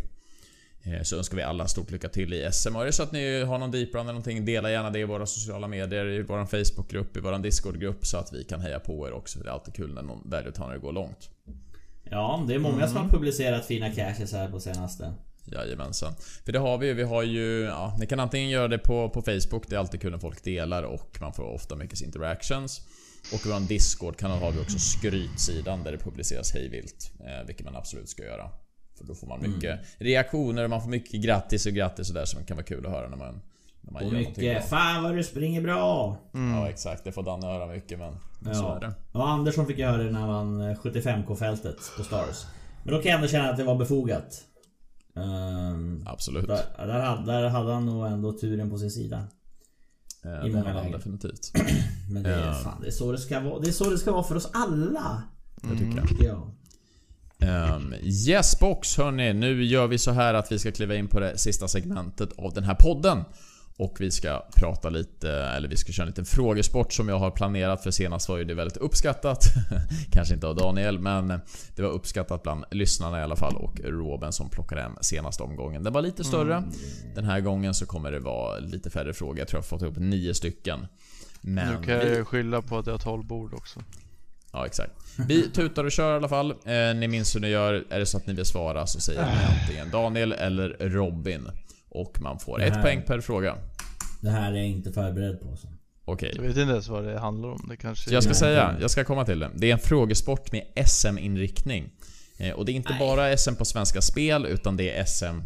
[SPEAKER 3] Eh, Så önskar vi alla stort lycka till i SM. Och är det så att ni har någon deep run eller någonting, dela gärna det i våra sociala medier, i vår Facebookgrupp, i vår Discordgrupp så att vi kan heja på er också. Det är alltid kul när någon väljer att ta när det går långt. Mm.
[SPEAKER 2] Ja, det är många som har publicerat fina caches här på senaste.
[SPEAKER 3] Jajamensan. För det har vi ju. Vi har ju... Ja, ni kan antingen göra det på, på Facebook, det är alltid kul när folk delar och man får ofta mycket interactions. Och vår Discord-kanal har vi också skrytsidan där det publiceras hejvilt. Eh, vilket man absolut ska göra. För då får man mycket
[SPEAKER 2] Mm.
[SPEAKER 3] reaktioner och man får mycket grattis och grattis och där som kan vara kul att höra när man... När man
[SPEAKER 2] Och
[SPEAKER 3] någonting bra.
[SPEAKER 2] mycket. Fan vad du springer bra!
[SPEAKER 4] Mm.
[SPEAKER 3] Ja exakt, det får Danne höra mycket men så är det.
[SPEAKER 2] Ja. ja, Andersson fick jag höra det när han vann eh, 75k-fältet på Stars. Men då kan jag ändå känna att det var befogat. Ehm,
[SPEAKER 3] Absolut.
[SPEAKER 2] där, där, hade, där hade han nog ändå turen på sin sida.
[SPEAKER 3] Eh,
[SPEAKER 2] i
[SPEAKER 3] det
[SPEAKER 2] många
[SPEAKER 3] hade han
[SPEAKER 2] lägen.
[SPEAKER 3] definitivt.
[SPEAKER 2] Men det är,
[SPEAKER 3] Ja.
[SPEAKER 2] fan, det är så det ska vara. Det är så det ska vara för oss alla.
[SPEAKER 3] Det
[SPEAKER 4] Mm.
[SPEAKER 3] tycker jag.
[SPEAKER 2] Ja.
[SPEAKER 3] Um, yes box hörni, nu gör vi så här att vi ska kliva in på det sista segmentet av den här podden. Och vi ska prata lite, eller vi ska köra en liten frågesport som jag har planerat för senast var ju det väldigt uppskattat. Kanske inte av Daniel men det var uppskattat bland lyssnarna i alla fall och Robin som plockade hem senaste omgången. Den var lite större. Den här gången så kommer det vara lite färre frågor. Jag tror jag har fått ihop nio stycken. Men
[SPEAKER 4] Nu kan jag
[SPEAKER 3] vi-
[SPEAKER 4] ju skylla på att jag har tolvbord också.
[SPEAKER 3] Ja, exakt. Vi tutar och kör i alla fall. Eh, ni minns hur ni gör. Är det så att ni vill svara så säger ni antingen Daniel eller Robin. Och man får ett
[SPEAKER 2] Nej.
[SPEAKER 3] poäng per fråga.
[SPEAKER 2] Det här är jag inte förberedd på. Så.
[SPEAKER 3] Okej.
[SPEAKER 4] Jag vet inte ens vad det handlar om. Det kanske...
[SPEAKER 3] Jag ska
[SPEAKER 2] Nej.
[SPEAKER 3] säga, jag ska komma till det. Det är en frågesport med SM-inriktning. Eh, och det är inte bara SM på Svenska Spel, utan det är SM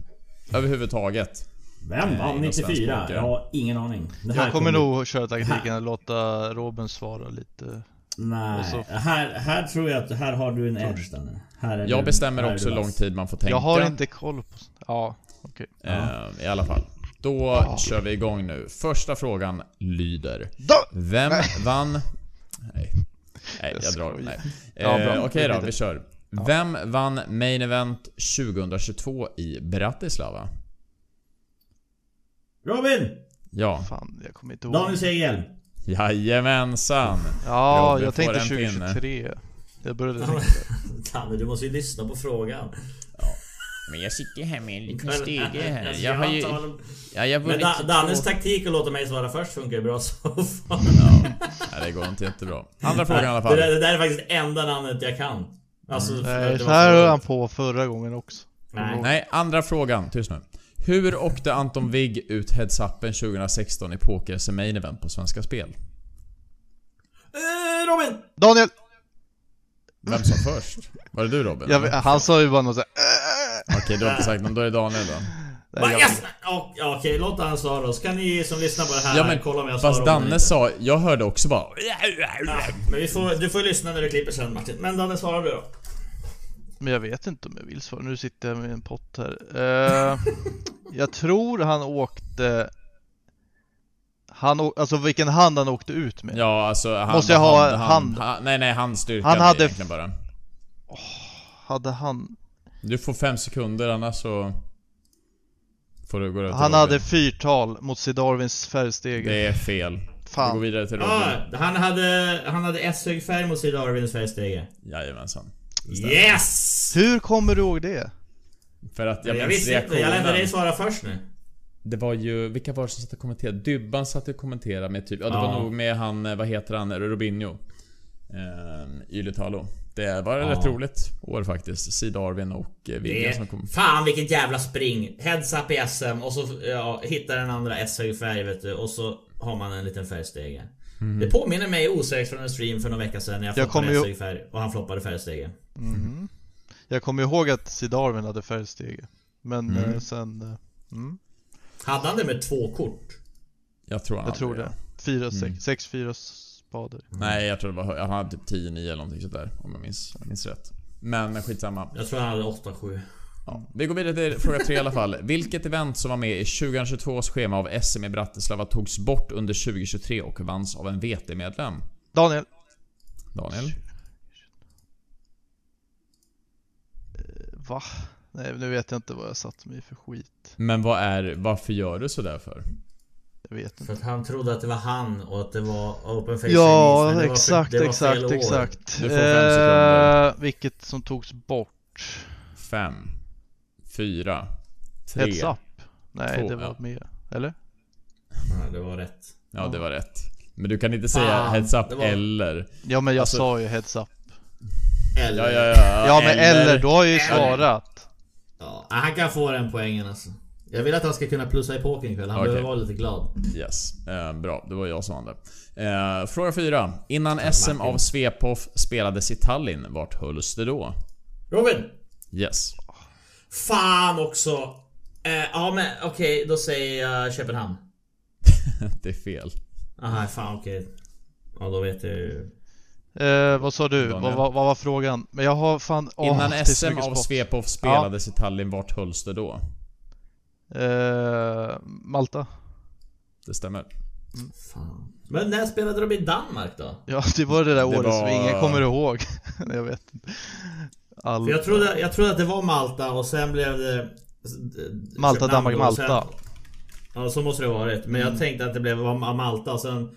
[SPEAKER 3] överhuvudtaget.
[SPEAKER 2] Vem
[SPEAKER 3] Eh,
[SPEAKER 2] vann
[SPEAKER 3] inom svensk
[SPEAKER 2] 94?
[SPEAKER 3] hockey.
[SPEAKER 2] Jag har ingen aning. Det
[SPEAKER 4] Jag kommer
[SPEAKER 2] nog
[SPEAKER 4] nog köra taktiken att låta Robin svara lite.
[SPEAKER 2] Nej,
[SPEAKER 4] Och så-
[SPEAKER 2] här, här tror jag att här har du en edge Danne. Här är
[SPEAKER 3] Jag
[SPEAKER 2] du- här
[SPEAKER 3] bestämmer
[SPEAKER 2] är
[SPEAKER 3] också
[SPEAKER 2] du
[SPEAKER 3] hur lång
[SPEAKER 2] vass.
[SPEAKER 3] tid man får tänka.
[SPEAKER 4] Jag har inte koll på sånt. Ja, okej.
[SPEAKER 3] Eh, I alla fall. Då kör vi igång nu. Första frågan lyder.
[SPEAKER 4] Då-
[SPEAKER 3] Vem vann... Nej. Nej, jag
[SPEAKER 4] Jag
[SPEAKER 3] drar.
[SPEAKER 4] skojar.
[SPEAKER 3] Nej.
[SPEAKER 4] Ja,
[SPEAKER 3] Eh,
[SPEAKER 4] bra.
[SPEAKER 3] Okej
[SPEAKER 4] Det
[SPEAKER 3] då,
[SPEAKER 4] blir det.
[SPEAKER 3] vi kör. Vem vann Main Event 2022 i Bratislava?
[SPEAKER 2] Robin!
[SPEAKER 3] Ja.
[SPEAKER 4] Fan, jag kommer inte ihåg.
[SPEAKER 2] Daniel Segerhjälm.
[SPEAKER 3] Jajamensan!
[SPEAKER 4] Ja,
[SPEAKER 3] Robin
[SPEAKER 4] jag
[SPEAKER 3] får
[SPEAKER 4] tänkte
[SPEAKER 3] en pinne.
[SPEAKER 4] 2023. Jag började tänka.
[SPEAKER 2] Danne, du måste ju lyssna på frågan.
[SPEAKER 3] Men jag sitter här med en
[SPEAKER 2] Alltså, jag har inte honom-
[SPEAKER 3] Ja, jag har
[SPEAKER 2] Men
[SPEAKER 3] vunnit
[SPEAKER 2] da,
[SPEAKER 3] två-
[SPEAKER 2] Dannes taktik att låta mig svara först funkar ju bra så fan.
[SPEAKER 3] Nej, det går inte jättebra. Andra frågan i alla fall. Mm.
[SPEAKER 2] Det, där, det där är faktiskt det enda namnet jag kan. Alltså, för att det
[SPEAKER 4] Nej,
[SPEAKER 2] var
[SPEAKER 4] så här höll
[SPEAKER 2] roligt.
[SPEAKER 4] han på förra gången också.
[SPEAKER 2] Nej.
[SPEAKER 3] Nej, andra frågan. Tyst nu. Hur åkte Anton Wigg ut heads-upen 2016 i poker Main Event på Svenska Spel?
[SPEAKER 2] Eh, Robin!
[SPEAKER 4] Daniel!
[SPEAKER 3] Vem sa först? Var det du Robin?
[SPEAKER 4] Jag,
[SPEAKER 3] eller?
[SPEAKER 4] vet- han sa ju bara något "Äh, såhär...
[SPEAKER 3] Okej, du har inte sagt någon. Då är det Daniel då.
[SPEAKER 2] Va, yes! Ja, Okej, låt han svara då. Så kan ni som lyssnar på det här
[SPEAKER 3] Ja, men-
[SPEAKER 2] kolla om jag svarar
[SPEAKER 3] Fast
[SPEAKER 2] Robin eller
[SPEAKER 3] Danne
[SPEAKER 2] inte.
[SPEAKER 3] sa... Jag hörde också bara...
[SPEAKER 2] Ja, Men vi får, du får lyssna när du klipper sen Martin. Men Danne, svarar du då?
[SPEAKER 4] Men jag vet inte om jag vill svara. Nu sitter jag med en pott här. Eh, jag tror han åkte... Han å... Alltså vilken hand han åkte ut med.
[SPEAKER 3] Ja, alltså han...
[SPEAKER 4] Måste jag ha hand?
[SPEAKER 3] han- nej, nej, han styrka
[SPEAKER 4] Han
[SPEAKER 3] det
[SPEAKER 4] hade-
[SPEAKER 3] egentligen bara.
[SPEAKER 4] Hade han...
[SPEAKER 3] Du får fem sekunder annars så... Får du gå över till
[SPEAKER 4] Han
[SPEAKER 3] Robin.
[SPEAKER 4] hade fyrtal mot Sidarvins färgstege.
[SPEAKER 3] Det är fel. Vi går
[SPEAKER 4] Fan.
[SPEAKER 3] vidare till Robin.
[SPEAKER 2] Ja, han hade, han hade S-hög färg mot Sida Arvins färgstege.
[SPEAKER 3] Jajamensan.
[SPEAKER 2] Yes!
[SPEAKER 4] Hur kommer du ihåg det?
[SPEAKER 3] För att jag,
[SPEAKER 2] Jag,
[SPEAKER 3] minns
[SPEAKER 2] visste inte,
[SPEAKER 3] reaktionen.
[SPEAKER 2] jag lät dig svara först nu.
[SPEAKER 3] Det var ju... Vilka var det som satt och kommenterade? Dubban satt och kommenterade med typ... Ja, det var
[SPEAKER 2] Ja.
[SPEAKER 3] nog med han... eh, Vad heter han? Robinho. Ehm, Yletalo. Det var ett
[SPEAKER 2] Ja.
[SPEAKER 3] rätt roligt år faktiskt. Sid Arvin och eh, Vigga
[SPEAKER 2] Det,
[SPEAKER 3] som kom.
[SPEAKER 2] fan vilket jävla spring! Heads up i SM och så ja, hittar den andra S-hög färg vet du och så har man en liten färgstege. Det
[SPEAKER 3] Mhm.
[SPEAKER 2] påminner mig osökt från en stream för några veckor sedan när jag,
[SPEAKER 4] Mm. Jag
[SPEAKER 2] floppade
[SPEAKER 4] kommer ju-
[SPEAKER 2] S-hög färg och han floppade färgstege.
[SPEAKER 4] Jag kommer ihåg att Sidarvin hade färgstege. Men eh,
[SPEAKER 3] Mm.
[SPEAKER 4] sen... eh,
[SPEAKER 2] Hade han det med två kort?
[SPEAKER 3] Jag tror han
[SPEAKER 4] Jag
[SPEAKER 3] hade
[SPEAKER 4] tror det. Fyra,
[SPEAKER 3] Mm.
[SPEAKER 4] sex, sex, fyra spader.
[SPEAKER 3] Nej, jag tror det var hö- Han hade typ 10-9 eller någonting sånt där Om jag minns, minns rätt. Men men skitsamma.
[SPEAKER 2] Jag tror han hade 8-7.
[SPEAKER 3] Ja. Vi går vidare till fråga tre i alla fall. Vilket event som var med i 2022 års schema av SM i Bratislava togs bort under 2023 och vanns av en VT-medlem?
[SPEAKER 4] Daniel!
[SPEAKER 3] Daniel?
[SPEAKER 4] Eh, Va? Nej, nu vet jag inte vad jag satt mig i för skit.
[SPEAKER 3] Men vad är... Varför gör du sådär för?
[SPEAKER 4] Jag vet inte.
[SPEAKER 2] För att han trodde att det var han och att det var open face release, men
[SPEAKER 4] Ja,
[SPEAKER 2] det var för-
[SPEAKER 4] exakt,
[SPEAKER 2] det var fel
[SPEAKER 4] exakt,
[SPEAKER 2] år.
[SPEAKER 4] exakt. Eh,
[SPEAKER 3] Du får fem sekunder.
[SPEAKER 4] vilket som togs bort?
[SPEAKER 3] Fem. Fyra. Tre.
[SPEAKER 4] Heads up? Nej,
[SPEAKER 3] Två,
[SPEAKER 4] det var
[SPEAKER 3] ja.
[SPEAKER 4] med. Eller?
[SPEAKER 2] Ja, det var rätt.
[SPEAKER 3] Ja, det var rätt. Men du kan inte säga
[SPEAKER 2] Fan,
[SPEAKER 3] heads up
[SPEAKER 2] det var-
[SPEAKER 3] eller...
[SPEAKER 4] Ja, men jag
[SPEAKER 3] Alltså-
[SPEAKER 4] sa ju heads up.
[SPEAKER 3] Ja,
[SPEAKER 2] Eller...
[SPEAKER 3] ja, ja.
[SPEAKER 4] Ja, men eller, då har jag ju svarat.
[SPEAKER 2] Ja, han kan få den poängen alltså. Jag vill att han ska kunna plussa i pokern ikväll. Han
[SPEAKER 3] Okej.
[SPEAKER 2] behöver vara lite glad.
[SPEAKER 3] Yes. Eh, bra, det var jag som vann där. Eh, fråga 4. Innan SM av Svepoff spelades i Tallinn, vart hölls det då?
[SPEAKER 2] Robin!
[SPEAKER 3] Yes.
[SPEAKER 2] Fan också! Eh, ja men okej, då säger jag Köpenhamn.
[SPEAKER 3] Det är fel.
[SPEAKER 2] Aha, fan okej. Ja då vet jag ju.
[SPEAKER 4] Eh, vad sa du? Vad,
[SPEAKER 3] Daniel.
[SPEAKER 4] vad, vad var frågan? Men jag har fan... åh,
[SPEAKER 3] Innan
[SPEAKER 4] det är så
[SPEAKER 3] SM
[SPEAKER 4] mycket
[SPEAKER 3] av
[SPEAKER 4] spott.
[SPEAKER 3] Svepoff spelades i Tallinn, vart hölls det då?
[SPEAKER 4] Eh, Malta.
[SPEAKER 3] Det stämmer.
[SPEAKER 2] Fan. Men när spelade de i Danmark då?
[SPEAKER 4] Ja, det var det där
[SPEAKER 3] Det
[SPEAKER 4] året som
[SPEAKER 3] var-
[SPEAKER 4] ingen kommer ihåg. jag vet inte. All...
[SPEAKER 2] För jag trodde, jag trodde att det var Malta och sen blev det...
[SPEAKER 4] Malta,
[SPEAKER 2] Köpenhamn
[SPEAKER 4] Danmark,
[SPEAKER 2] då, och sen-
[SPEAKER 4] Malta. Mm.
[SPEAKER 2] Ja så måste det ha varit. Men jag tänkte att det blev var Malta och sen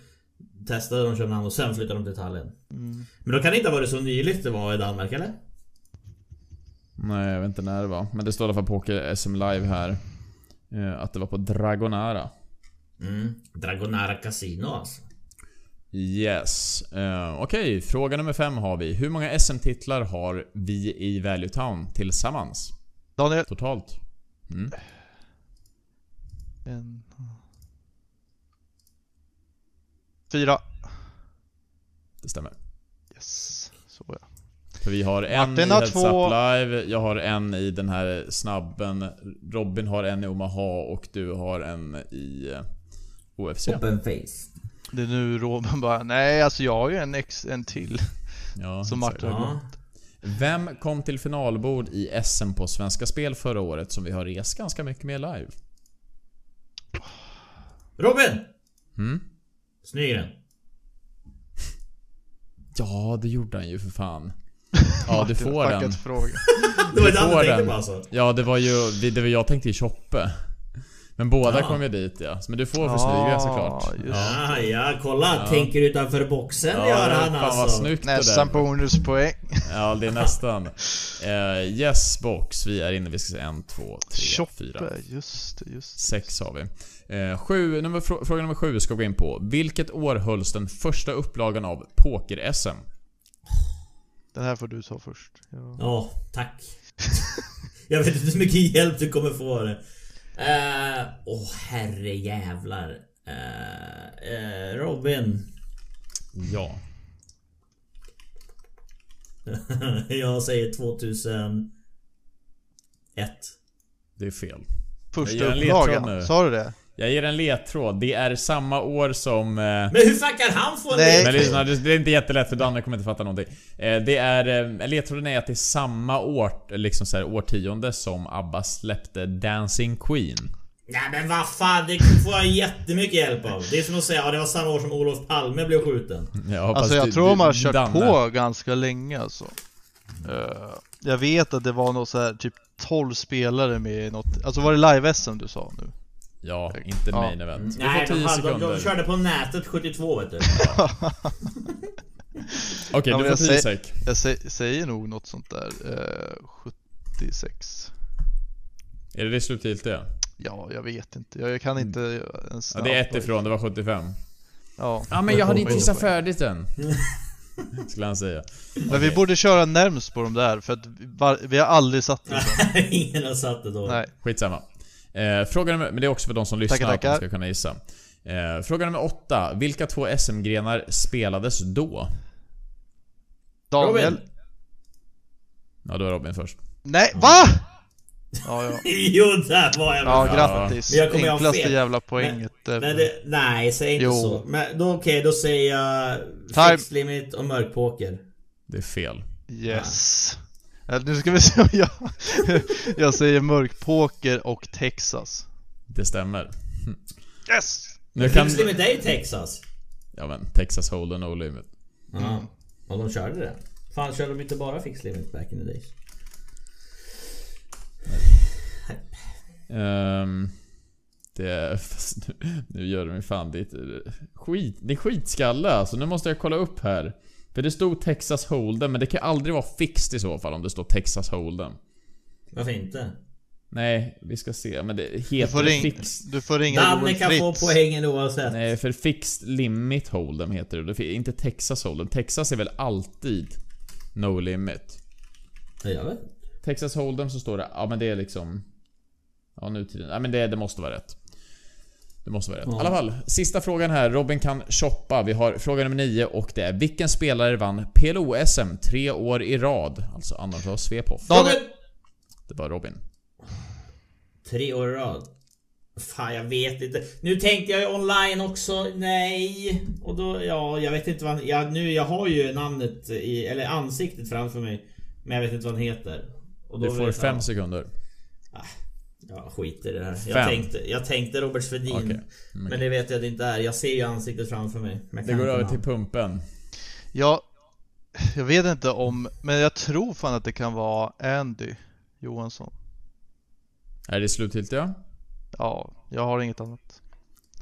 [SPEAKER 2] testade de Köpenhamn och sen flyttade de till Tallinn.
[SPEAKER 4] Mm.
[SPEAKER 2] Men då kan det inte ha varit så nyligt det var i Danmark eller?
[SPEAKER 3] Nej, jag vet inte när det var. Men det står i alla fall på Poker SM Live här. eh, Att det var på Dragonara.
[SPEAKER 2] Mm. Dragonara Casino alltså.
[SPEAKER 3] Yes. Eh, Okej, fråga nummer 5 har vi. Hur många SM-titlar har vi i Value Town tillsammans?
[SPEAKER 4] Daniel.
[SPEAKER 3] Totalt? Mm.
[SPEAKER 4] En... Fyra.
[SPEAKER 3] Det stämmer.
[SPEAKER 4] Yes. Så ja.
[SPEAKER 3] För vi har en
[SPEAKER 4] Martin
[SPEAKER 3] i
[SPEAKER 4] har
[SPEAKER 3] Heads
[SPEAKER 4] två.
[SPEAKER 3] Up Live, jag har en i den här snabben, Robin har en i Omaha och du har en i eh, OFC.
[SPEAKER 2] Open face.
[SPEAKER 4] Det är nu Robin bara, nej alltså jag har ju en, ex, en till.
[SPEAKER 3] Ja,
[SPEAKER 4] Som Martin har
[SPEAKER 2] Ja.
[SPEAKER 4] glömt.
[SPEAKER 3] Vem kom till finalbord i SM på Svenska Spel förra året som vi har rest ganska mycket med live?
[SPEAKER 2] Robin!
[SPEAKER 3] Mm?
[SPEAKER 2] Snygren.
[SPEAKER 3] Ja, det gjorde han ju för fan. Ja, du får
[SPEAKER 4] Fuckat
[SPEAKER 3] den.
[SPEAKER 4] fråga.
[SPEAKER 2] Det var
[SPEAKER 3] Du
[SPEAKER 2] det andra
[SPEAKER 3] får
[SPEAKER 2] jag tänkte
[SPEAKER 3] den.
[SPEAKER 2] på alltså.
[SPEAKER 3] Ja, det var ju... vi- Det var, jag tänkte ju Choppe. Men båda
[SPEAKER 2] Ja.
[SPEAKER 3] kom ju dit ja. Men du får för Snygren såklart.
[SPEAKER 4] Ja, just.
[SPEAKER 2] Ja, Ah, ja, kolla. Tänker utanför boxen gör han
[SPEAKER 3] fan vad
[SPEAKER 2] alltså.
[SPEAKER 3] snyggt
[SPEAKER 4] Nästan
[SPEAKER 3] det där.
[SPEAKER 4] bonuspoäng.
[SPEAKER 3] Ja, det är nästan. Eh, yes box. Vi är inne. Vi ska se en, två, tre, fyra.
[SPEAKER 4] Choppe, just det, just
[SPEAKER 3] Sex har vi. Eh, sju, nummer, frå- fråga nummer sju ska vi gå in på. Vilket år hölls den första upplagan av Poker-SM?
[SPEAKER 4] det. Den här får du ta först. Ja.
[SPEAKER 2] Ja, tack. jag vet inte hur mycket hjälp du kommer få av det. Eh, Åh herrejävlar. Eh, eh, Robin.
[SPEAKER 3] Ja.
[SPEAKER 2] jag säger 2001.
[SPEAKER 3] Det är fel.
[SPEAKER 4] Första
[SPEAKER 3] Jag ger en ledtråd
[SPEAKER 4] upplagan,
[SPEAKER 3] nu.
[SPEAKER 4] sa du det?
[SPEAKER 3] Jag ger en ledtråd. Det är samma år som... Eh,
[SPEAKER 2] Men hur fan kan han få en
[SPEAKER 4] Nej.
[SPEAKER 2] Nej.
[SPEAKER 3] men lyssna, det det är inte jättelätt för Danne kommer inte fatta någonting. Eh, det är... Eh, ledtråden är att det är samma år, liksom så här, årtionde som ABBA släppte Dancing Queen.
[SPEAKER 2] Nej men vad fan, det får jag jättemycket hjälp av. Det är som att säga, ja det var samma år som Olof Palme blev skjuten.
[SPEAKER 3] Jag hoppas
[SPEAKER 4] Alltså
[SPEAKER 3] du-
[SPEAKER 4] jag tror de har
[SPEAKER 3] du-
[SPEAKER 4] kört
[SPEAKER 3] Danne.
[SPEAKER 4] på ganska länge alltså. Eh, jag vet att det var något så här typ 12 spelare med i något, alltså var det live-SM du sa nu?
[SPEAKER 3] Ja, inte
[SPEAKER 4] Ja.
[SPEAKER 3] main event. Du
[SPEAKER 2] Mm. Nej,
[SPEAKER 3] får 10
[SPEAKER 2] de, hade, de,
[SPEAKER 3] sekunder.
[SPEAKER 2] de körde på nätet 72 vet du.
[SPEAKER 3] Okej,
[SPEAKER 4] Ja,
[SPEAKER 3] du
[SPEAKER 4] men
[SPEAKER 3] får 10
[SPEAKER 4] jag säger-
[SPEAKER 3] sek.
[SPEAKER 4] Jag sä- säger nog något sånt där, eh, 76.
[SPEAKER 3] Är det det slutgiltiga?
[SPEAKER 4] Ja, jag vet inte. Jag, jag kan inte ens...
[SPEAKER 3] Mm. Ja, det är ett ifrån, det var 75.
[SPEAKER 4] Ja.
[SPEAKER 3] Ja men jag hade inte gissat färdigt än. Skulle han säga.
[SPEAKER 4] Men vi borde köra närmst på de där, för att vi, var, vi har aldrig satt det så.
[SPEAKER 2] Ingen har satt det då.
[SPEAKER 4] Nej.
[SPEAKER 3] Skitsamma. Eh, fråga nummer, men det är också för de som lyssnar
[SPEAKER 4] Tackar,
[SPEAKER 3] att de
[SPEAKER 4] tackar.
[SPEAKER 3] ska kunna gissa. Eh, fråga nummer åtta. Vilka två SM-grenar spelades då?
[SPEAKER 4] Daniel?
[SPEAKER 2] Robin.
[SPEAKER 3] Ja, då är Robin först.
[SPEAKER 4] Nej, VA? Ja, ja.
[SPEAKER 2] Jo, där var jag
[SPEAKER 4] Ja,
[SPEAKER 2] med.
[SPEAKER 4] grattis.
[SPEAKER 2] Men jag kommer göra
[SPEAKER 4] Enklaste
[SPEAKER 2] fel.
[SPEAKER 4] jävla poänget.
[SPEAKER 2] Men det, nej, säg inte
[SPEAKER 4] Jo.
[SPEAKER 2] så. Men då okej, då säger jag...
[SPEAKER 4] Time.
[SPEAKER 2] Fixed limit och mörkpoker.
[SPEAKER 3] Det är fel.
[SPEAKER 4] Yes. Ja, nu ska vi se om jag... jag säger mörkpoker och Texas.
[SPEAKER 3] Det stämmer.
[SPEAKER 4] Yes!
[SPEAKER 3] Nu kan...
[SPEAKER 2] Fixed limit är i Texas.
[SPEAKER 3] Ja men, Texas Hold'em No Limit.
[SPEAKER 2] Ja. Och de körde det. Fan, körde de inte bara fixed limit back in the days?
[SPEAKER 3] Ehm, det är... Fast nu, nu gör du mig fan ditt... Skit, det är skitskalle alltså. Nu måste jag kolla upp här. För det stod Texas Hold'em, men det kan ju aldrig vara fixt i så fall om det står Texas Hold'em.
[SPEAKER 2] Varför inte?
[SPEAKER 3] Nej, vi ska se. Men det
[SPEAKER 4] Du
[SPEAKER 3] heter
[SPEAKER 4] får,
[SPEAKER 3] det
[SPEAKER 4] ring,
[SPEAKER 3] fixed...
[SPEAKER 4] du får ringa
[SPEAKER 2] Danne
[SPEAKER 4] Joel
[SPEAKER 2] kan få
[SPEAKER 4] Fritz.
[SPEAKER 2] poängen oavsett.
[SPEAKER 3] Nej, för fixed limit hold'em heter det. det. fin- Inte Texas hold'em. Texas är väl alltid no limit?
[SPEAKER 2] Jag vet.
[SPEAKER 3] Texas Hold'em så står det, ja men det är liksom... Ja nutiden, ja men det, det måste vara rätt. Det måste vara rätt. I alla fall, sista frågan här. Robin kan shoppa. Vi har fråga nummer 9 och det är Vilken spelare vann PLO-SM tre år i rad? Alltså Anders och Svepoff.
[SPEAKER 4] Daniel!
[SPEAKER 3] Det var Robin.
[SPEAKER 2] Tre år i rad. Fan jag vet inte. Nu tänkte jag ju online också. Nej. Och då, ja jag vet inte vad han, jag, nu, jag har ju namnet i, eller ansiktet framför mig. Men jag vet inte vad han heter. Och då
[SPEAKER 3] Du
[SPEAKER 2] vet
[SPEAKER 3] får
[SPEAKER 2] jag-
[SPEAKER 3] fem sekunder.
[SPEAKER 2] Ja, skit i det här.
[SPEAKER 3] Fem.
[SPEAKER 2] Jag tänkte, jag tänkte Robert Svedin.
[SPEAKER 3] Okej.
[SPEAKER 2] Men det vet jag att det inte är. Jag ser ju ansiktet framför mig. Men
[SPEAKER 3] Det går över till pumpen.
[SPEAKER 4] Jag, jag vet inte om, men jag tror fan att det kan vara Andy Johansson.
[SPEAKER 3] Är det slutgiltiga?
[SPEAKER 4] Ja, jag har inget annat.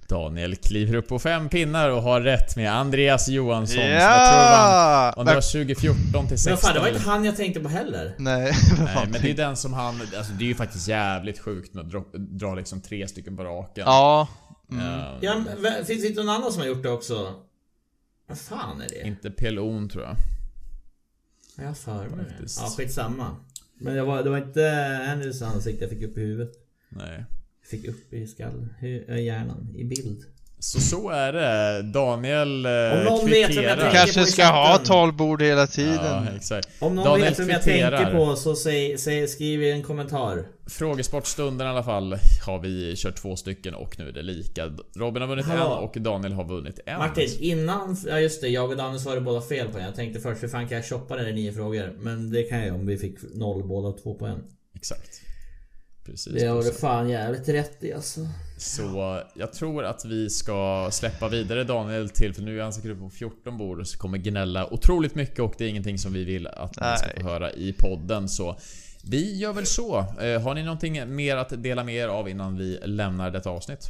[SPEAKER 3] Daniel kliver upp på fem pinnar och har rätt med Andreas Johansson som jag tror vann. Om det var 2014 till
[SPEAKER 2] Men
[SPEAKER 3] 16
[SPEAKER 2] fan, det var
[SPEAKER 3] eller-
[SPEAKER 2] inte han jag tänkte på heller.
[SPEAKER 4] Nej, vad
[SPEAKER 3] Nej,
[SPEAKER 4] fan
[SPEAKER 3] men det är ju
[SPEAKER 4] tänkte-
[SPEAKER 3] den som han... Alltså det är ju faktiskt jävligt sjukt att dra, dra liksom tre stycken på raken.
[SPEAKER 4] Ja, mm.
[SPEAKER 3] Eh,
[SPEAKER 2] Ja, men, vem- finns det inte någon annan som har gjort det också? Vad fan är det?
[SPEAKER 3] Inte PLO'n tror jag.
[SPEAKER 2] Jag har för mig det.
[SPEAKER 3] Faktiskt.
[SPEAKER 2] Ja, skitsamma. Men det var, det var inte Henrys ansikte jag fick upp i huvudet.
[SPEAKER 3] Nej.
[SPEAKER 2] Fick upp i skallen. Hu- äh, hjärnan. I bild.
[SPEAKER 3] Så så är det. Daniel eh,
[SPEAKER 2] Om någon vet vem jag
[SPEAKER 4] du
[SPEAKER 3] kvitterar.
[SPEAKER 2] tänker-
[SPEAKER 4] kanske
[SPEAKER 2] på i
[SPEAKER 4] ska ha
[SPEAKER 2] chatten.
[SPEAKER 4] talbord hela
[SPEAKER 3] Ja,
[SPEAKER 4] tiden.
[SPEAKER 3] exakt.
[SPEAKER 2] Om någon
[SPEAKER 3] Daniel
[SPEAKER 2] vet vem jag
[SPEAKER 3] kvitterar.
[SPEAKER 2] tänker på så säg, säg, skriv i en kommentar.
[SPEAKER 3] Frågesportstunden i alla fall har vi kört två stycken och nu är det lika. Robin har vunnit
[SPEAKER 2] Hallå.
[SPEAKER 3] en och Daniel har vunnit en.
[SPEAKER 2] Martin, innan... Ja just det, jag och Danne svarade båda fel på en. Jag tänkte först hur fan kan jag shoppa den i nio frågor? Men det kan jag om vi fick noll båda två på en.
[SPEAKER 3] Exakt. Precis.
[SPEAKER 2] Det har du
[SPEAKER 3] precis.
[SPEAKER 2] fan jävligt rätt i alltså.
[SPEAKER 3] Så jag tror att vi ska släppa vidare Daniel till för nu är han säkert uppe på 14 bord och så kommer gnälla otroligt mycket och det är ingenting som vi vill att ni ska få
[SPEAKER 4] Nej.
[SPEAKER 3] höra i podden så vi gör väl så. Eh, Har ni någonting mer att dela med er av innan vi lämnar detta avsnitt?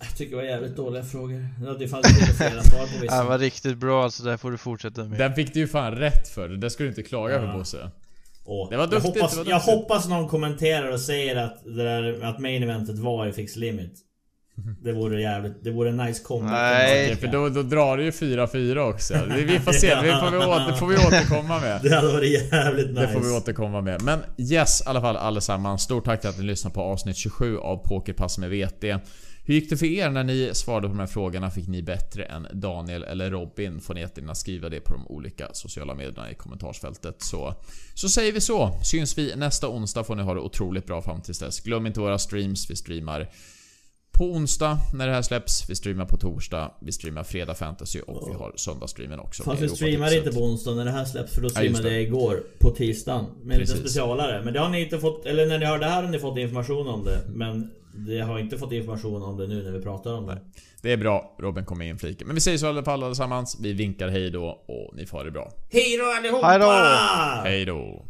[SPEAKER 2] Jag tycker det var jävligt dåliga frågor. Ja, Det fanns inte flera svar på
[SPEAKER 4] Ja, det
[SPEAKER 2] vissa.
[SPEAKER 4] var riktigt bra alltså, där får du fortsätta med.
[SPEAKER 3] Den fick du ju fan rätt för. Det ska du inte klaga för
[SPEAKER 2] Ja.
[SPEAKER 3] Bosse.
[SPEAKER 2] Åh,
[SPEAKER 3] Det var duktigt,
[SPEAKER 2] jag, hoppas,
[SPEAKER 3] det var
[SPEAKER 2] jag
[SPEAKER 3] duktigt.
[SPEAKER 2] hoppas någon kommenterar och säger att, det där, att main eventet var i Fix Limit. Det vore jävligt... Det vore en nice comeback.
[SPEAKER 4] Nej.
[SPEAKER 3] Okej, för då, då drar du ju 4-4 också. Vi vi får se. Det får vi, å- det får vi återkomma med.
[SPEAKER 2] Det hade varit jävligt nice.
[SPEAKER 3] Det får vi återkomma med. Men yes, i alla fall allesammans. Stort tack till att ni lyssnade på avsnitt 27 av Pokerpass med VT. Hur gick det för er när ni svarade på de här frågorna? Fick ni bättre än Daniel eller Robin? Får ni jättegärna skriva det på de olika sociala medierna i kommentarsfältet. Så, så säger vi så. Syns vi nästa onsdag får ni ha det otroligt bra fram tills dess. Glöm inte våra streams. Vi streamar på onsdag när det här släpps. Vi streamar på torsdag. Vi streamar fredag fantasy och vi har söndagsstreamen också.
[SPEAKER 2] Fast
[SPEAKER 3] med
[SPEAKER 2] vi streamade
[SPEAKER 3] Europatipset.
[SPEAKER 2] inte på onsdagen när det här släpps för då
[SPEAKER 3] typ Ja, just
[SPEAKER 2] streamade
[SPEAKER 3] det.
[SPEAKER 2] jag igår på tisdagen med lite
[SPEAKER 3] Precis.
[SPEAKER 2] specialare. Men det har ni inte fått, eller när ni hör det här har ni fått information om det. Men det har inte fått information om det nu när vi pratar om det.
[SPEAKER 3] Det är bra. Robin kommer in fliken. Men vi säger så i alla fall allesammans. Vi vinkar hej då och ni får ha det bra.
[SPEAKER 2] Hej då allihopa!
[SPEAKER 4] Hej då!
[SPEAKER 3] Hej då.